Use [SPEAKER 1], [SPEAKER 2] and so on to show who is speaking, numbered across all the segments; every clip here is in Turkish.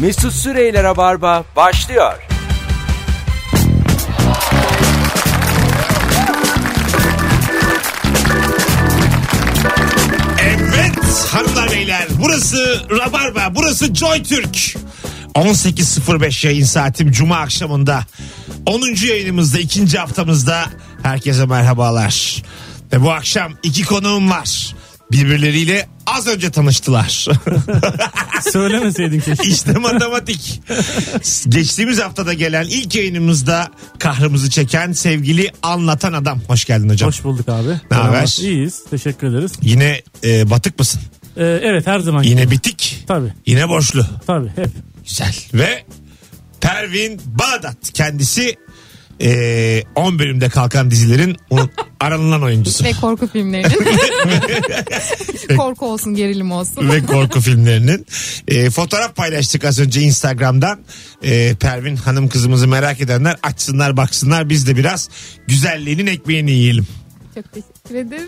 [SPEAKER 1] Mesut Süreyle Rabarba başlıyor.
[SPEAKER 2] Evet hanımlar beyler burası Rabarba burası Joy Türk. 18.05 yayın saatim Cuma akşamında 10. yayınımızda ikinci haftamızda herkese merhabalar. Ve bu akşam iki konuğum var. Birbirleriyle az önce tanıştılar.
[SPEAKER 3] Söylemeseydin keşke.
[SPEAKER 2] İşte matematik. Geçtiğimiz haftada gelen ilk yayınımızda kahrımızı çeken sevgili anlatan adam. Hoş geldin hocam.
[SPEAKER 3] Hoş bulduk abi.
[SPEAKER 2] haber?
[SPEAKER 3] İyiyiz. Teşekkür ederiz.
[SPEAKER 2] Yine e, batık mısın?
[SPEAKER 3] Ee, evet her zaman.
[SPEAKER 2] Yine bitik.
[SPEAKER 3] Tabii.
[SPEAKER 2] Yine borçlu.
[SPEAKER 3] Tabii hep.
[SPEAKER 2] Güzel. Ve Pervin Bağdat kendisi eee 10 bölümde kalkan dizilerin unut- aranılan oyuncusu.
[SPEAKER 4] ve korku filmlerinin. korku olsun, gerilim olsun.
[SPEAKER 2] ve korku filmlerinin. Eee, fotoğraf paylaştık az önce Instagram'dan. Eee, Pervin hanım kızımızı merak edenler açsınlar baksınlar biz de biraz güzelliğinin ekmeğini yiyelim.
[SPEAKER 4] Çok teşekkür ederim.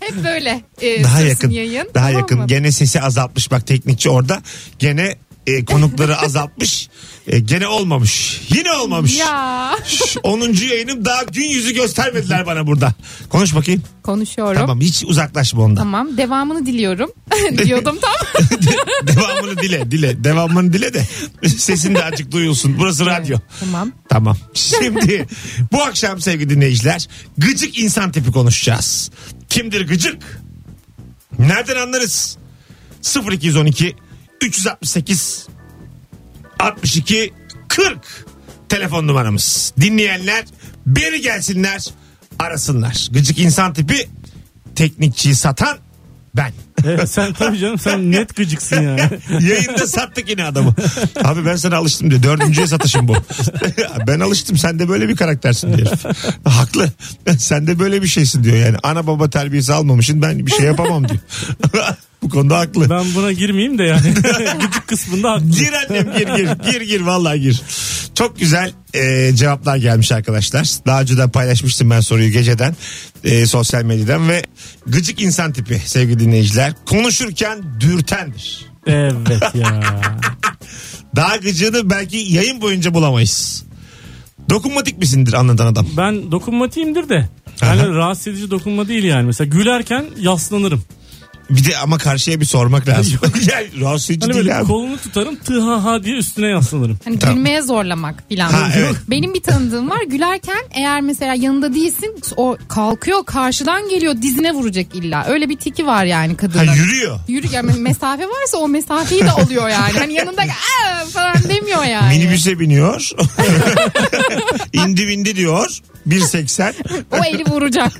[SPEAKER 4] Hep böyle e,
[SPEAKER 2] Daha
[SPEAKER 4] sürsün
[SPEAKER 2] yakın.
[SPEAKER 4] yayın.
[SPEAKER 2] Daha
[SPEAKER 4] Tamam
[SPEAKER 2] yakın.
[SPEAKER 4] mı?
[SPEAKER 2] Gene sesi azaltmış bak teknikçi orada. Gene eee, konukları azaltmış. Eee, gene olmamış. Yine olmamış.
[SPEAKER 4] Ya
[SPEAKER 2] 10. yayınım daha gün yüzü göstermediler bana burada. Konuş bakayım.
[SPEAKER 4] konuşuyorum. Tamam.
[SPEAKER 2] Tamam hiç uzaklaşma ondan.
[SPEAKER 4] devamını diliyorum. Diyordum tam.
[SPEAKER 2] Devamını dile dile. Devamını dile de sesin de azıcık duyulsun. Burası radyo.
[SPEAKER 4] tamam.
[SPEAKER 2] Tamam. Şimdi bu akşam sevgili dinleyiciler gıcık insan tipi konuşacağız. Kimdir gıcık? Nereden anlarız? 0212 368 62 40 telefon numaramız. Dinleyenler beri gelsinler arasınlar. Gıcık insan tipi teknikçiyi satan ben.
[SPEAKER 3] Evet, Ee, sen tabii canım sen net gıcıksın yani.
[SPEAKER 2] Yayında sattık yine adamı. Abi ben sana alıştım diyor. Dördüncüye satışım bu. ben alıştım sen de böyle bir karaktersin diyor. herif. Haklı. Sen de böyle bir şeysin diyor yani. Ana baba terbiyesi almamışsın ben bir şey yapamam diyor. bu konuda haklı.
[SPEAKER 3] Ben buna girmeyeyim de yani. Gıcık kısmında haklı.
[SPEAKER 2] Gir annem gir gir gir gir vallahi gir. Çok güzel e, cevaplar gelmiş arkadaşlar. Daha önceden paylaşmıştım ben soruyu geceden e, sosyal medyadan ve gıcık insan tipi sevgili dinleyiciler konuşurken dürtendir.
[SPEAKER 3] Evet ya.
[SPEAKER 2] Daha gıcığını belki yayın boyunca bulamayız. Dokunmatik misindir anlatan adam?
[SPEAKER 3] Ben dokunmatiyimdir de. Yani
[SPEAKER 2] Aha.
[SPEAKER 3] rahatsız edici dokunma değil yani. Mesela gülerken yaslanırım.
[SPEAKER 2] Bir de ama karşıya bir sormak lazım. yani rahatsız edici
[SPEAKER 3] Hani
[SPEAKER 2] değil
[SPEAKER 3] böyle
[SPEAKER 2] abi.
[SPEAKER 3] kolunu tutarım tıha ha diye üstüne yaslanırım.
[SPEAKER 4] Hani
[SPEAKER 2] Tamam.
[SPEAKER 4] gülmeye zorlamak filan.
[SPEAKER 2] Ha, evet.
[SPEAKER 4] Benim bir tanıdığım var. Gülerken eğer mesela yanında değilsin o kalkıyor karşıdan geliyor dizine vuracak illa. Öyle bir tiki var yani
[SPEAKER 2] Ha,
[SPEAKER 4] kadının.
[SPEAKER 2] yürüyor.
[SPEAKER 4] Yürü yani mesafe varsa o mesafeyi de alıyor yani. Hani yanında "Aa!" falan demiyor yani.
[SPEAKER 2] Minibüse biniyor. indi bindi diyor. 1.80
[SPEAKER 4] O eli vuracak.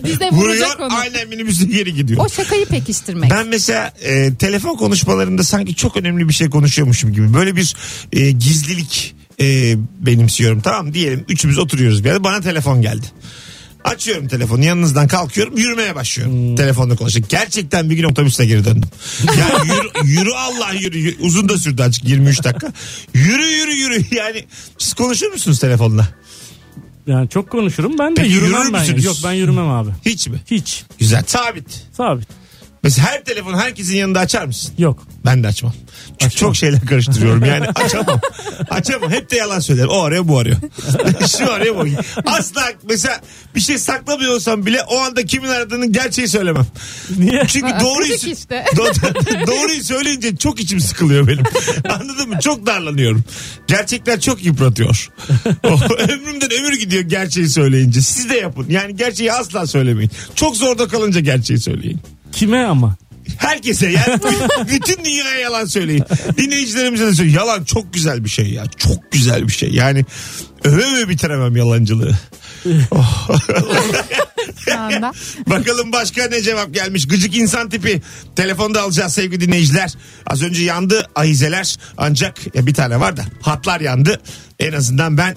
[SPEAKER 4] Dize
[SPEAKER 2] vuruyor
[SPEAKER 4] vuracak onu.
[SPEAKER 2] aynen minibüse geri gidiyor.
[SPEAKER 4] O şakayı pekiştirmek.
[SPEAKER 2] Ben mesela e, telefon konuşmalarında sanki çok önemli bir şey konuşuyormuşum gibi. Böyle bir e, gizlilik e, benimsiyorum tamam diyelim üçümüz oturuyoruz bir yerde bana telefon geldi. Açıyorum telefonu yanınızdan kalkıyorum yürümeye başlıyorum. Telefonda konuştuk. Gerçekten bir gün otobüsle geri döndüm. Ya yürü, yürü Allah yürü, yürü. Uzun da sürdü açık 23 dakika. Yürü yürü yürü yani siz konuşur musunuz telefonla?
[SPEAKER 3] Yani çok konuşurum ben de
[SPEAKER 2] Peki
[SPEAKER 3] yürümem
[SPEAKER 2] yürür
[SPEAKER 3] ben. yani.
[SPEAKER 2] müsünüz?
[SPEAKER 3] Yok ben yürümem abi.
[SPEAKER 2] Hiç mi?
[SPEAKER 3] Hiç.
[SPEAKER 2] Güzel sabit.
[SPEAKER 3] Sabit.
[SPEAKER 2] Mesela her telefon herkesin yanında açar mısın?
[SPEAKER 3] Yok.
[SPEAKER 2] Ben de açmam. Çünkü çok şeyler karıştırıyorum yani açamam. Açamam hep de yalan söyler. O arıyor bu arıyor. Şu arıyor bu arıyor. Asla mesela bir şey saklamıyorsam bile o anda kimin aradığının gerçeği söylemem.
[SPEAKER 3] Niye?
[SPEAKER 2] Çünkü
[SPEAKER 4] Aa,
[SPEAKER 2] doğruyu,
[SPEAKER 4] küçük işte.
[SPEAKER 2] Do- doğruyu söyleyince çok içim sıkılıyor benim. Anladın mı? Çok darlanıyorum. Gerçekler çok yıpratıyor. O, ömrümden ömür gidiyor gerçeği söyleyince. Siz de yapın. Yani gerçeği asla söylemeyin. Çok zorda kalınca gerçeği söyleyin.
[SPEAKER 3] Kime ama?
[SPEAKER 2] Herkese yani bütün dünyaya yalan söyleyin. Dinleyicilerimize de söyleyin. Yalan çok güzel bir şey ya. Çok güzel bir şey. Yani öve öve bitiremem yalancılığı.
[SPEAKER 4] şu anda.
[SPEAKER 2] Bakalım başka ne cevap gelmiş. Gıcık insan tipi. Telefonda alacağız sevgili dinleyiciler. Az önce yandı ahizeler. Ancak ya bir tane var da hatlar yandı. En azından ben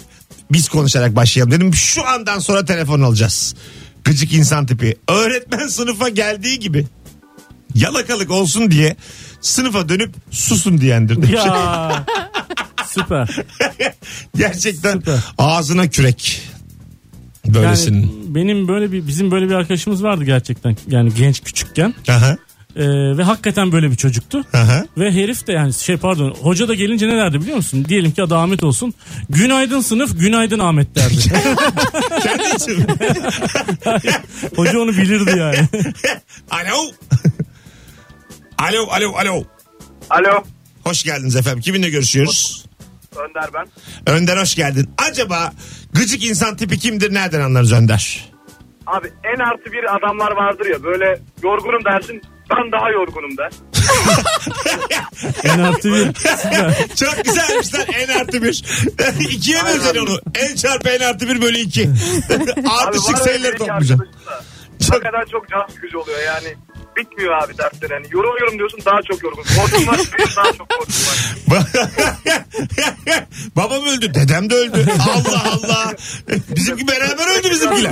[SPEAKER 2] biz konuşarak başlayalım dedim. Şu andan sonra telefon alacağız. Gıcık insan tipi. Öğretmen sınıfa geldiği gibi yalakalık olsun diye sınıfa dönüp susun diyendir. demiş.
[SPEAKER 3] Ya. Süper.
[SPEAKER 2] Gerçekten
[SPEAKER 3] Süper.
[SPEAKER 2] ağzına kürek. Böylesinin.
[SPEAKER 3] Yani benim böyle bir bizim böyle bir arkadaşımız vardı gerçekten. Yani genç küçükken.
[SPEAKER 2] Aha.
[SPEAKER 3] Ee, ve hakikaten böyle bir çocuktu.
[SPEAKER 2] Aha.
[SPEAKER 3] Ve herif de yani şey pardon hoca da gelince ne derdi biliyor musun? Diyelim ki adı Ahmet olsun. Günaydın sınıf günaydın Ahmet derdi.
[SPEAKER 2] Kendi için mi?
[SPEAKER 3] hoca onu bilirdi yani.
[SPEAKER 2] alo. alo, alo, alo.
[SPEAKER 5] Alo.
[SPEAKER 2] Hoş geldiniz efendim. Kiminle görüşüyoruz?
[SPEAKER 5] Önder ben.
[SPEAKER 2] Önder hoş geldin. Acaba gıcık insan tipi kimdir? Nereden anlarız Önder?
[SPEAKER 5] Abi en artı bir adamlar vardır ya böyle yorgunum dersin ben daha yorgunum der.
[SPEAKER 3] en artı bir.
[SPEAKER 2] Çok güzelmiş lan en artı bir. İkiye böleceksin onu. En çarpı en artı bir bölü iki.
[SPEAKER 5] Abi
[SPEAKER 2] Artışık
[SPEAKER 5] var öyle bir
[SPEAKER 2] sayıları
[SPEAKER 5] iki
[SPEAKER 2] toplayacaksın.
[SPEAKER 5] arkadaşım da.
[SPEAKER 2] Çok-
[SPEAKER 5] Hakikaten çok can sıkıcı oluyor yani. Bitmiyor abi dertler yani. Yoruluyorum diyorsun daha çok yorgun. Korkum var benim daha çok korkum var.
[SPEAKER 2] Babam öldü, dedem de öldü. Allah Allah. Bizimki beraber öldü bizimkiler.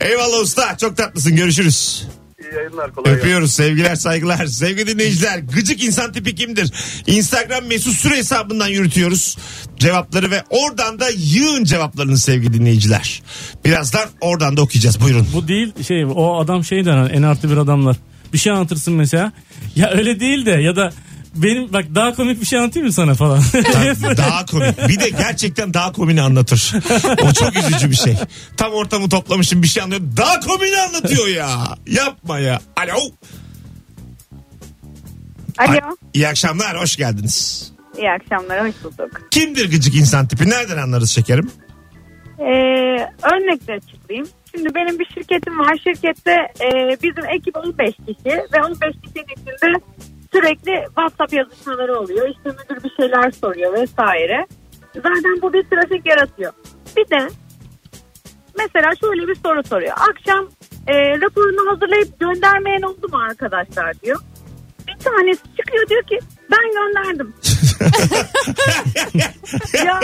[SPEAKER 2] Eyvallah usta. Çok tatlısın. Görüşürüz.
[SPEAKER 5] İyi yayınlar kolay gelsin.
[SPEAKER 2] Öpüyoruz. Sevgiler, saygılar. Sevgili dinleyiciler, gıcık insan tipi kimdir? Instagram mesut süre hesabından yürütüyoruz cevapları ve oradan da yığın cevaplarını sevgili dinleyiciler. Birazdan oradan da okuyacağız. Buyurun.
[SPEAKER 3] Bu değil şey o adam şey der hani, en artı bir adamlar. Bir şey anlatırsın mesela. Ya öyle değil de ya da benim bak daha komik bir şey anlatayım mı sana falan.
[SPEAKER 2] Tabii, daha komik. Bir de gerçekten daha komini anlatır. O çok üzücü bir şey. Tam ortamı toplamışım bir şey anlıyor. Daha komini anlatıyor ya. Yapma ya. Alo.
[SPEAKER 6] Alo.
[SPEAKER 2] İyi akşamlar. Hoş geldiniz.
[SPEAKER 6] İyi akşamlar, hoş bulduk.
[SPEAKER 2] Kimdir gıcık insan tipi? Nereden anlarız şekerim?
[SPEAKER 6] Ee, örnekle açıklayayım. Şimdi benim bir şirketim var. Şirkette e, bizim ekip 15 kişi ve 15 kişinin içinde sürekli WhatsApp yazışmaları oluyor. İşte müdür bir şeyler soruyor vesaire. Zaten bu bir trafik yaratıyor. Bir de mesela şöyle bir soru soruyor. Akşam e, raporunu hazırlayıp göndermeyen oldu mu arkadaşlar diyor. Bir tanesi çıkıyor diyor ki ben gönderdim. ya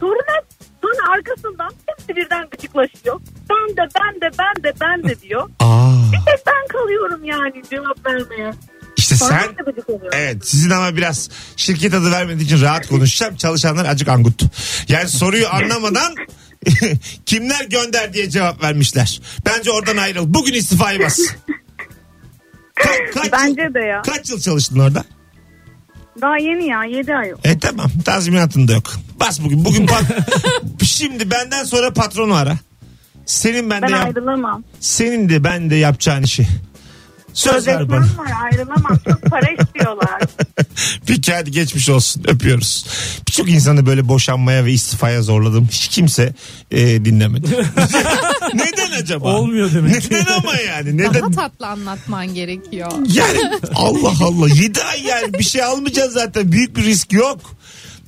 [SPEAKER 6] sorun hep bana arkasından hepsi birden gıcıklaşıyor. Ben de ben de ben de ben de diyor.
[SPEAKER 2] Aa.
[SPEAKER 6] Bir tek ben kalıyorum yani cevap vermeye.
[SPEAKER 2] İşte
[SPEAKER 6] Bana
[SPEAKER 2] sen
[SPEAKER 6] da gıcık oluyor.
[SPEAKER 2] Evet sizin ama biraz şirket adı vermediği için rahat konuşacağım. Çalışanlar acık angut. Yani soruyu anlamadan kimler gönder diye cevap vermişler. Bence oradan ayrıl. Bugün istifayı bas. Ka- kaç,
[SPEAKER 6] E, Bence de ya.
[SPEAKER 2] kaç yıl çalıştın orada?
[SPEAKER 6] Daha yeni ya 7 ay oldu.
[SPEAKER 2] E tamam tazminatın da yok. Bas bugün. Bugün pat- Şimdi benden sonra patronu ara. Senin ben,
[SPEAKER 6] Ben
[SPEAKER 2] de yap-
[SPEAKER 6] ayrılamam.
[SPEAKER 2] senin de ben de yapacağın işi. Söz ver
[SPEAKER 6] Sözleşmem
[SPEAKER 2] bana.
[SPEAKER 6] var ayrılamam. Çok para istiyorlar.
[SPEAKER 2] Peki hadi geçmiş olsun öpüyoruz. Birçok insanı böyle boşanmaya ve istifaya zorladım. Hiç kimse e, dinlemedi. Neden acaba?
[SPEAKER 3] Olmuyor demek ki.
[SPEAKER 2] Neden ama yani?
[SPEAKER 4] Daha
[SPEAKER 2] Neden?
[SPEAKER 4] tatlı anlatman gerekiyor.
[SPEAKER 2] Yani Allah Allah 7 ay yani bir şey almayacaksın zaten. Büyük bir risk yok.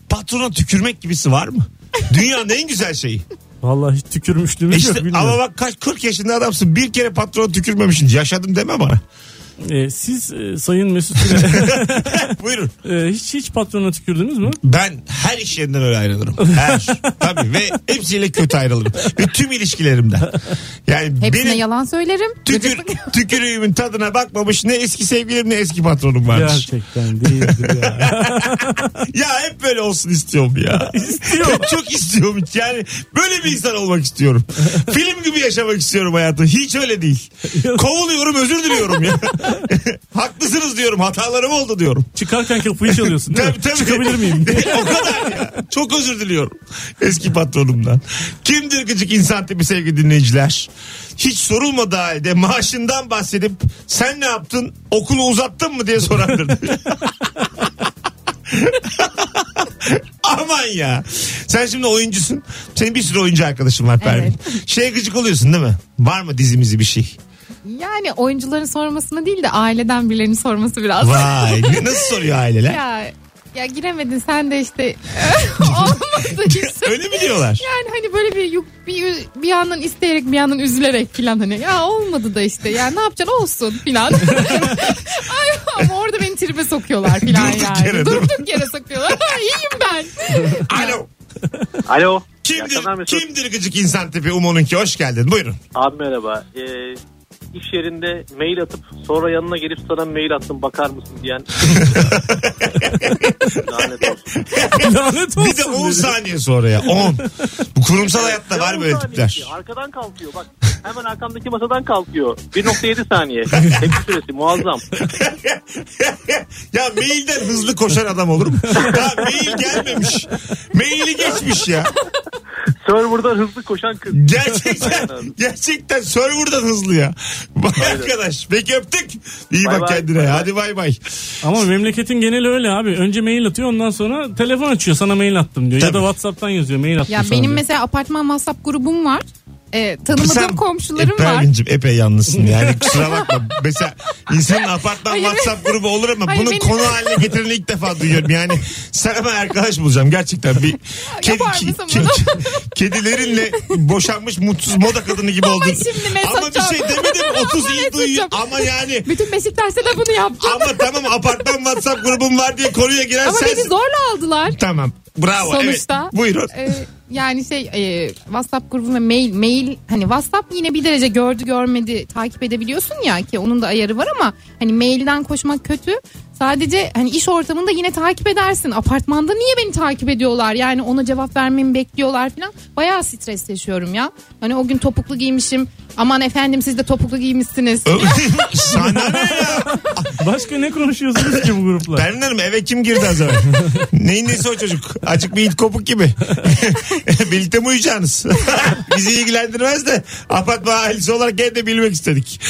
[SPEAKER 2] Patrona tükürmek gibisi var mı? Dünyanın en güzel şeyi.
[SPEAKER 3] Vallahi hiç tükürmüşlüğümüz
[SPEAKER 2] E işte,
[SPEAKER 3] yok bilmiyorum.
[SPEAKER 2] ama bak kaç 40 yaşında adamsın. Bir kere patrona tükürmemişsin. Yaşadım deme bana.
[SPEAKER 3] Ee, siz e, Sayın Mesut Süre
[SPEAKER 2] Buyurun.
[SPEAKER 3] e, hiç hiç patrona tükürdünüz mü?
[SPEAKER 2] Ben her iş yerinden öyle ayrılırım. Her. Tabii ve hepsiyle kötü ayrılırım. Ve tüm ilişkilerimden. Yani
[SPEAKER 4] Hepsine
[SPEAKER 2] benim
[SPEAKER 4] yalan söylerim.
[SPEAKER 2] tükür, tükürüğümün tadına bakmamış ne eski sevgilim ne eski patronum varmış.
[SPEAKER 3] Gerçekten değildir ya.
[SPEAKER 2] Ya, hep böyle olsun istiyorum ya. İstiyorum. Çok istiyorum. Yani böyle bir insan olmak istiyorum. Film gibi yaşamak istiyorum hayatı. Hiç öyle değil. Kovuluyorum özür diliyorum ya. Haklısınız diyorum hatalarım oldu diyorum.
[SPEAKER 3] Çıkarken kapıyı çalıyorsun değil mi?
[SPEAKER 2] Tabii, tabii.
[SPEAKER 3] Çıkabilir miyim?
[SPEAKER 2] o kadar ya. Çok özür diliyorum eski patronumdan. Kimdir gıcık insan tipi sevgili dinleyiciler? Hiç sorulmadığı halde maaşından bahsedip sen ne yaptın okulu uzattın mı diye sorandır. Aman ya. Sen şimdi oyuncusun. Senin bir sürü oyuncu arkadaşın var Pervin. Şeye gıcık oluyorsun değil mi? Var mı dizimizi bir şey?
[SPEAKER 4] Yani oyuncuların sormasına değil de aileden birilerinin sorması biraz.
[SPEAKER 2] Vay ne- nasıl soruyor aileler?
[SPEAKER 4] ya ya giremedin sen de işte olmadı işte.
[SPEAKER 2] Öyle mi diyorlar?
[SPEAKER 4] Yani hani böyle bir yük- bir bir yandan isteyerek bir yandan üzülerek filan hani ya olmadı da işte ya ne yapacaksın olsun filan. Ay ama orada beni tribe sokuyorlar filan
[SPEAKER 2] Durduk
[SPEAKER 4] yani.
[SPEAKER 2] yere, değil mi?
[SPEAKER 4] Durduk yere sokuyorlar. Ay, İyiyim ben.
[SPEAKER 2] Alo.
[SPEAKER 7] Alo. İyi akşamlar
[SPEAKER 2] Kimdir,
[SPEAKER 7] Mesut.
[SPEAKER 2] kimdir gıcık insan tipi Umo'nunki? Hoş geldin. Buyurun.
[SPEAKER 7] Abi merhaba. Ee, iş yerinde mail atıp sonra yanına gelip sana mail attım bakar mısın diyen. Lanet olsun.
[SPEAKER 3] Lanet olsun.
[SPEAKER 2] Bir de 10
[SPEAKER 3] dedi.
[SPEAKER 2] saniye sonra ya. 10. Bu kurumsal hayatta var
[SPEAKER 7] Ya
[SPEAKER 2] böyle
[SPEAKER 7] bu saniye
[SPEAKER 2] tipler.
[SPEAKER 7] Arkadan kalkıyor bak. Hemen arkamdaki masadan kalkıyor. 1.7 saniye. Tepki süresi muazzam.
[SPEAKER 2] ya mailden hızlı koşan adam olur mu? Ya mail gelmemiş. Maili geçmiş ya.
[SPEAKER 7] Server'dan hızlı koşan kız.
[SPEAKER 2] Gerçekten gerçekten serverdan hızlı ya. Vay arkadaş. Peki öptük. İyi
[SPEAKER 7] Bay
[SPEAKER 2] bak
[SPEAKER 7] bay,
[SPEAKER 2] kendine.
[SPEAKER 7] bay bay.
[SPEAKER 2] Hadi bay bay.
[SPEAKER 3] Ama memleketin geneli öyle abi. Önce mail atıyor ondan sonra telefon açıyor sana mail attım diyor. Ya
[SPEAKER 2] Tabii.
[SPEAKER 3] da Whatsapp'tan yazıyor mail attım
[SPEAKER 4] Ya
[SPEAKER 2] şey
[SPEAKER 3] sana
[SPEAKER 4] benim
[SPEAKER 3] diyor.
[SPEAKER 4] mesela apartman WhatsApp grubum var. Ee, tanımadığım
[SPEAKER 2] Sen-
[SPEAKER 4] komşularım
[SPEAKER 2] E,
[SPEAKER 4] var.
[SPEAKER 2] Pervin'cim epey yalnızsın yani kusura bakma. Mesela insanın apartman
[SPEAKER 4] Hayır,
[SPEAKER 2] WhatsApp grubu olur ama
[SPEAKER 4] Hayır,
[SPEAKER 2] bunu
[SPEAKER 4] benim-
[SPEAKER 2] konu haline getiren ilk defa duyuyorum. Yani sana ben arkadaş bulacağım gerçekten. Bir kedi,
[SPEAKER 4] Yapar
[SPEAKER 2] ki-
[SPEAKER 4] mısın
[SPEAKER 2] ki-
[SPEAKER 4] bunu?
[SPEAKER 2] ki- kedilerinle boşanmış mutsuz moda kadını gibi oldun.
[SPEAKER 4] şimdi mesaj
[SPEAKER 2] Ama bir şey
[SPEAKER 4] at.
[SPEAKER 2] demedim 30
[SPEAKER 4] Ama
[SPEAKER 2] iyi
[SPEAKER 4] mesaj
[SPEAKER 2] duyuyor
[SPEAKER 4] at.
[SPEAKER 2] ama yani
[SPEAKER 4] Bütün Beşiktaş'ta da bunu yaptım.
[SPEAKER 2] ama tamam apartman WhatsApp grubum var diye konuya giren
[SPEAKER 4] Ama
[SPEAKER 2] sensin.
[SPEAKER 4] beni zorla aldılar.
[SPEAKER 2] Tamam. Bravo.
[SPEAKER 4] Sonuçta.
[SPEAKER 2] Evet. Buyurun.
[SPEAKER 4] Ee, yani şey e, WhatsApp grubu ve mail mail hani WhatsApp yine bir derece gördü görmedi takip edebiliyorsun ya ki onun da ayarı var ama hani mailden koşmak kötü. Sadece hani iş ortamında yine takip edersin. Apartmanda niye beni takip ediyorlar? Yani ona cevap vermemi bekliyorlar falan. Bayağı stres yaşıyorum ya. Hani o gün topuklu giymişim. Aman efendim siz de topuklu giymişsiniz.
[SPEAKER 2] Sana ne ya?
[SPEAKER 3] Başka ne konuşuyorsunuz ki bu grupla?
[SPEAKER 2] Pervin Hanım eve kim girdi az evvel? Neyin nesi o çocuk? Açık bir it kopuk gibi. Birlikte mi uyuyacaksınız? Bizi ilgilendirmez de apartman ailesi olarak gene de bilmek istedik.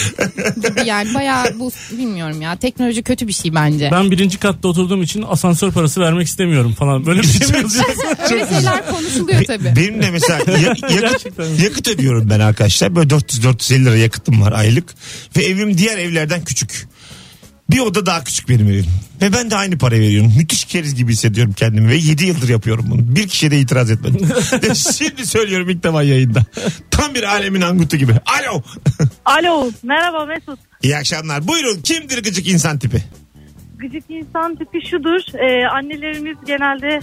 [SPEAKER 4] yani bayağı bu bilmiyorum ya. Teknoloji kötü bir şey bence.
[SPEAKER 3] Ben birinci katta oturduğum için asansör parası vermek istemiyorum falan. Böyle bir şey mi yazacaksın?
[SPEAKER 4] Öyle şeyler konuşuluyor tabii.
[SPEAKER 2] Benim de mesela ya- yakıt,
[SPEAKER 3] Gerçekten.
[SPEAKER 2] yakıt ödüyorum ben arkadaşlar. Böyle 400-450 lira yakıtım var aylık. Ve evim diğer evlerden küçük. Bir oda daha küçük benim evim. Ve ben de aynı parayı veriyorum. Müthiş keriz gibi hissediyorum kendimi. Ve 7 yıldır yapıyorum bunu. Bir kişiye de itiraz etmedim. Şimdi söylüyorum ilk defa yayında. Tam bir alemin angutu gibi. Alo.
[SPEAKER 6] Alo merhaba Mesut.
[SPEAKER 2] İyi akşamlar. Buyurun kimdir gıcık insan tipi?
[SPEAKER 6] Gıcık insan tipi şudur. Ee, annelerimiz genelde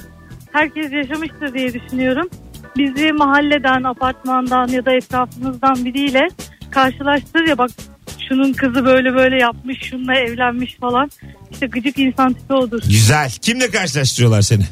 [SPEAKER 6] herkes yaşamıştır diye düşünüyorum. Bizi mahalleden, apartmandan ya da etrafımızdan biriyle karşılaştırır ya bak şunun kızı böyle böyle yapmış, şununla evlenmiş falan. İşte gıcık insan tipi odur.
[SPEAKER 2] Güzel. Kimle karşılaştırıyorlar seni?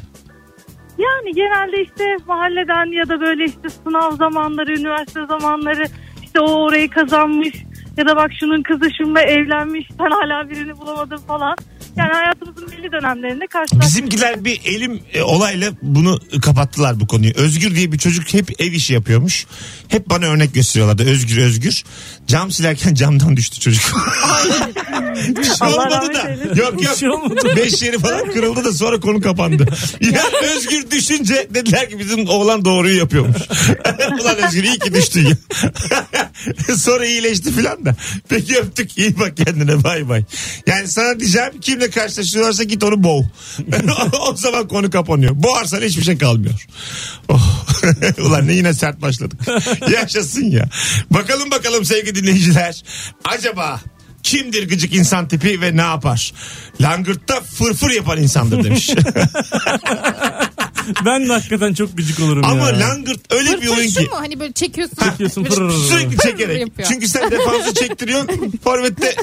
[SPEAKER 6] Yani genelde işte mahalleden ya da böyle işte sınav zamanları, üniversite zamanları işte o orayı kazanmış ya da bak şunun kızı şununla evlenmiş ben hala birini bulamadım falan. Yani hayatımızın belli dönemlerinde karşılaştık.
[SPEAKER 2] Bizimkiler bir elim e, olayla bunu kapattılar bu konuyu. Özgür diye bir çocuk hep ev işi yapıyormuş. Hep bana örnek gösteriyorlardı. Özgür Özgür. Cam silerken camdan düştü çocuk. bir şey
[SPEAKER 6] Allah
[SPEAKER 2] olmadı
[SPEAKER 6] rahmet
[SPEAKER 2] da.
[SPEAKER 6] eylesin.
[SPEAKER 2] Yok
[SPEAKER 3] Bir şey
[SPEAKER 2] yok.
[SPEAKER 3] olmadı.
[SPEAKER 2] Beş yeri falan kırıldı da sonra konu kapandı. Ya Özgür düşünce dediler ki bizim oğlan doğruyu yapıyormuş. Ulan Özgür iyi ki düştün ya. sonra iyileşti filan da. Peki öptük iyi bak kendine bay bay. Yani sana diyeceğim kimle karşılaşıyorlarsa git onu boğ. o zaman konu kapanıyor. Boğarsan hiçbir şey kalmıyor. Oh. Ulan ne yine sert başladık. Yaşasın ya. Bakalım bakalım sevgili dinleyiciler. Acaba Kimdir gıcık insan tipi ve ne yapar? Langırtta fırfır yapan insandır demiş.
[SPEAKER 3] Ben de hakikaten çok gıcık olurum
[SPEAKER 2] Ama
[SPEAKER 3] ya.
[SPEAKER 2] langırt öyle bir oyun
[SPEAKER 4] Fırfır şu
[SPEAKER 2] ki.
[SPEAKER 4] mu? Hani böyle çekiyorsun.
[SPEAKER 3] Çekiyorsun,
[SPEAKER 4] Böyle-
[SPEAKER 3] fırırırır.
[SPEAKER 2] Sürekli çekerek.
[SPEAKER 4] yapıyor.
[SPEAKER 2] Çünkü sen defansı çektiriyorsun. Forvet'te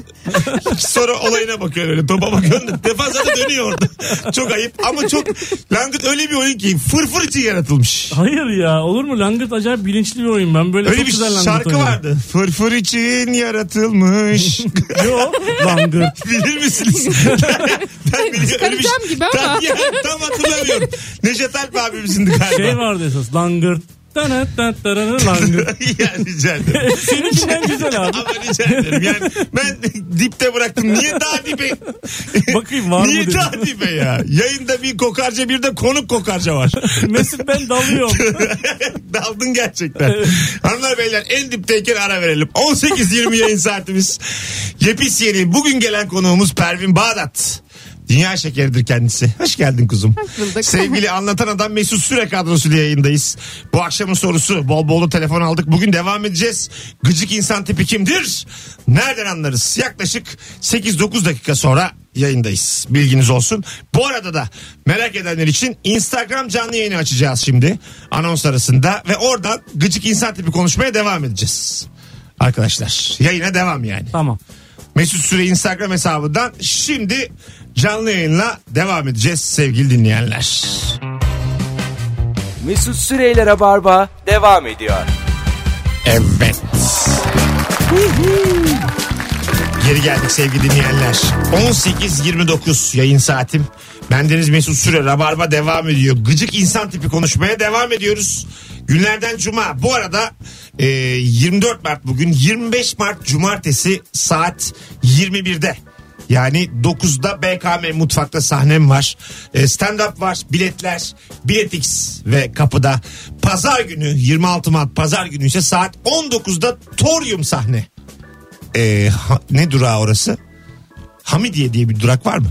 [SPEAKER 2] sonra olayına bakıyorsun öyle. Topa bakıyorsun. da Defansa da dönüyor orada. Çok ayıp ama çok langırt öyle bir oyun ki fırfır için yaratılmış.
[SPEAKER 3] Hayır ya olur mu? Langırt acayip bilinçli bir oyun. Ben böyle
[SPEAKER 2] Öyle
[SPEAKER 3] çok
[SPEAKER 2] bir
[SPEAKER 3] güzel langırt
[SPEAKER 2] şarkı
[SPEAKER 3] oynadım.
[SPEAKER 2] vardı. Fırfır için yaratılmış.
[SPEAKER 3] Yo langırt.
[SPEAKER 2] Bilir misiniz? ben biliyorum. Öyle bir-
[SPEAKER 4] Çıkaracağım gibi ama.
[SPEAKER 2] Tam, ya, tam hatırlamıyorum. Neşet Alp abimizindi galiba.
[SPEAKER 3] Şey vardı esas langırt. Tana tana tana langırt.
[SPEAKER 2] ya rica ederim.
[SPEAKER 3] Seninkinden güzel abi.
[SPEAKER 2] Ama rica ederim. Yani ben dipte bıraktım. Niye daha dibe?
[SPEAKER 3] Bakayım var mı
[SPEAKER 2] Niye
[SPEAKER 3] dedim.
[SPEAKER 2] daha dibe ya? Yayında bir kokarca bir de konuk kokarca var.
[SPEAKER 3] Mesut ben dalıyorum.
[SPEAKER 2] Daldın gerçekten. Hanımlar beyler en dipteyken ara verelim. 18-20 yayın saatimiz. Yepis yeni. Bugün gelen konuğumuz Pervin Bağdat. Dünya şekeridir kendisi. Hoş geldin kuzum.
[SPEAKER 4] bulduk.
[SPEAKER 2] Sevgili anlatan adam Mesut Süre kadrosuyla yayındayız. Bu akşamın sorusu bol bol da telefon aldık. Bugün devam edeceğiz. Gıcık insan tipi kimdir? Nereden anlarız? Yaklaşık 8-9 dakika sonra yayındayız. Bilginiz olsun. Bu arada da merak edenler için Instagram canlı yayını açacağız şimdi. Anons arasında ve oradan gıcık insan tipi konuşmaya devam edeceğiz. Arkadaşlar yayına devam yani.
[SPEAKER 3] tamam.
[SPEAKER 2] Mesut Süre Instagram hesabından şimdi canlı yayınla devam edeceğiz sevgili dinleyenler.
[SPEAKER 1] Mesut Süreyler'e barba devam ediyor.
[SPEAKER 2] Evet. Geri geldik sevgili dinleyenler. 18.29 yayın saatim. Bendeniz Mesut Süre Rabarba devam ediyor. Gıcık insan tipi konuşmaya devam ediyoruz. Günlerden Cuma. Bu arada e, 24 Mart bugün 25 Mart Cumartesi saat 21'de. Yani 9'da BKM mutfakta sahnem var. E, Stand up var, biletler, biletix ve kapıda. Pazar günü 26 Mart pazar günü ise saat 19'da Torium sahne e, ha- ne durağı orası? Hamidiye diye bir durak var mı?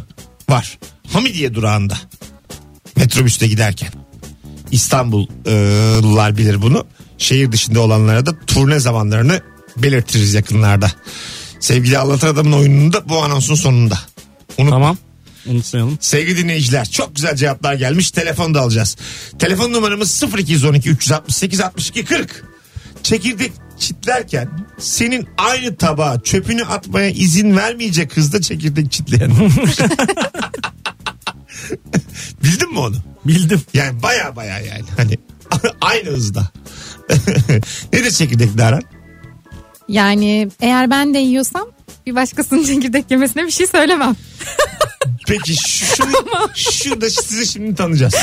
[SPEAKER 2] Var. Hamidiye durağında. Metrobüste giderken. İstanbullular bilir bunu. Şehir dışında olanlara da turne zamanlarını belirtiriz yakınlarda. Sevgili Anlatan Adam'ın oyununda bu anonsun sonunda. Unutma.
[SPEAKER 3] Tamam. Unutmayalım.
[SPEAKER 2] Sevgili dinleyiciler çok güzel cevaplar gelmiş. Telefon da alacağız. Telefon numaramız 0212 368 62 40. Çekirdek çitlerken senin aynı tabağa çöpünü atmaya izin vermeyecek hızda çekirdek çitleyen. Bildin mi onu?
[SPEAKER 3] Bildim.
[SPEAKER 2] Yani baya baya yani. Hani aynı hızda. Nedir çekirdekli aran?
[SPEAKER 4] Yani eğer ben de yiyorsam bir başkasının çekirdek yemesine bir şey söylemem.
[SPEAKER 2] Peki şu, şurada sizi şimdi tanıyacağız.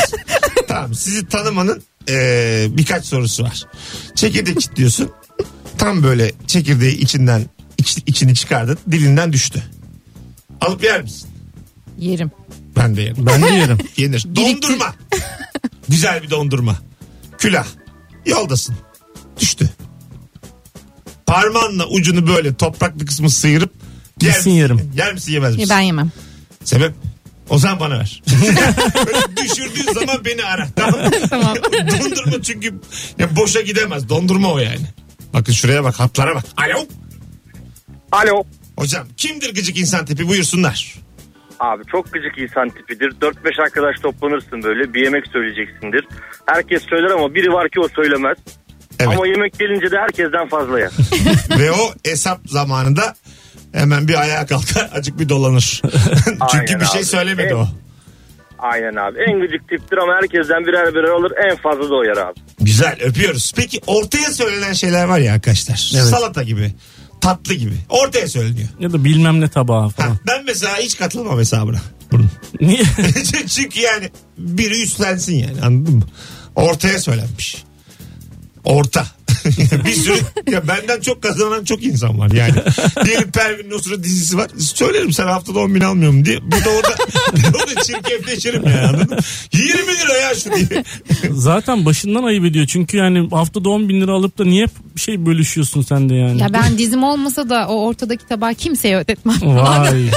[SPEAKER 2] tamam sizi tanımanın eee, birkaç sorusu var. Çekirdek çitliyorsun. Tam böyle çekirdeği içinden iç- içini çıkardın dilinden düştü. Alıp yer misin?
[SPEAKER 4] Yerim.
[SPEAKER 2] Ben de yerim.
[SPEAKER 3] Ben de yerim.
[SPEAKER 2] Yenir. Dondurma. Güzel bir dondurma. Külah. Yoldasın. Düştü. Parmağınla ucunu böyle topraklı kısmı sıyırıp yer
[SPEAKER 3] Kesin
[SPEAKER 2] misin?
[SPEAKER 3] yerim.
[SPEAKER 2] Yer misin yemez misin?
[SPEAKER 4] Ben yemem.
[SPEAKER 2] Sebep? O zaman bana ver. Böyle düşürdüğün zaman beni ara. Tamam. mı?
[SPEAKER 4] Tamam.
[SPEAKER 2] Dondurma çünkü ya boşa gidemez. Dondurma o yani. Bakın şuraya bak hatlara bak. Alo.
[SPEAKER 5] Alo.
[SPEAKER 2] Hocam kimdir gıcık insan tipi buyursunlar.
[SPEAKER 8] Abi çok gıcık insan tipidir. 4-5 arkadaş toplanırsın böyle bir yemek söyleyeceksindir. Herkes söyler ama biri var ki o söylemez.
[SPEAKER 2] Evet.
[SPEAKER 8] Ama yemek gelince de herkesten fazla yer.
[SPEAKER 2] Ve o hesap zamanında hemen bir ayağa kalkar acık bir dolanır. çünkü
[SPEAKER 8] Aynen
[SPEAKER 2] bir şey
[SPEAKER 8] abi.
[SPEAKER 2] söylemedi o.
[SPEAKER 8] Aynen abi. En gıcık tiptir ama herkesten birer birer alır. En fazla da o yer abi.
[SPEAKER 2] Güzel öpüyoruz. Peki ortaya söylenen şeyler var ya arkadaşlar.
[SPEAKER 3] Evet.
[SPEAKER 2] Salata gibi. Tatlı gibi. Ortaya söyleniyor.
[SPEAKER 3] Ya da bilmem ne tabağı
[SPEAKER 2] Ha,
[SPEAKER 3] falan.
[SPEAKER 2] ben mesela hiç katılmam hesabına. Bunun.
[SPEAKER 3] Niye?
[SPEAKER 2] Çünkü yani biri üstlensin yani anladın mı? Ortaya söylenmiş. Orta. bir sürü ya benden çok kazanan çok insan var yani. Diyelim Pervin Nusra dizisi var. Söylerim sen haftada 10 bin almıyorum diye. Bir de orada, bir de orada çirkefleşirim yani anladın mı? 20 lira ya şu diye.
[SPEAKER 3] Zaten başından ayıp ediyor. Çünkü yani haftada 10 bin lira alıp da niye bir şey bölüşüyorsun sen de yani?
[SPEAKER 4] Ya ben dizim olmasa da o ortadaki tabağı kimseye ödetmem.
[SPEAKER 3] Vay.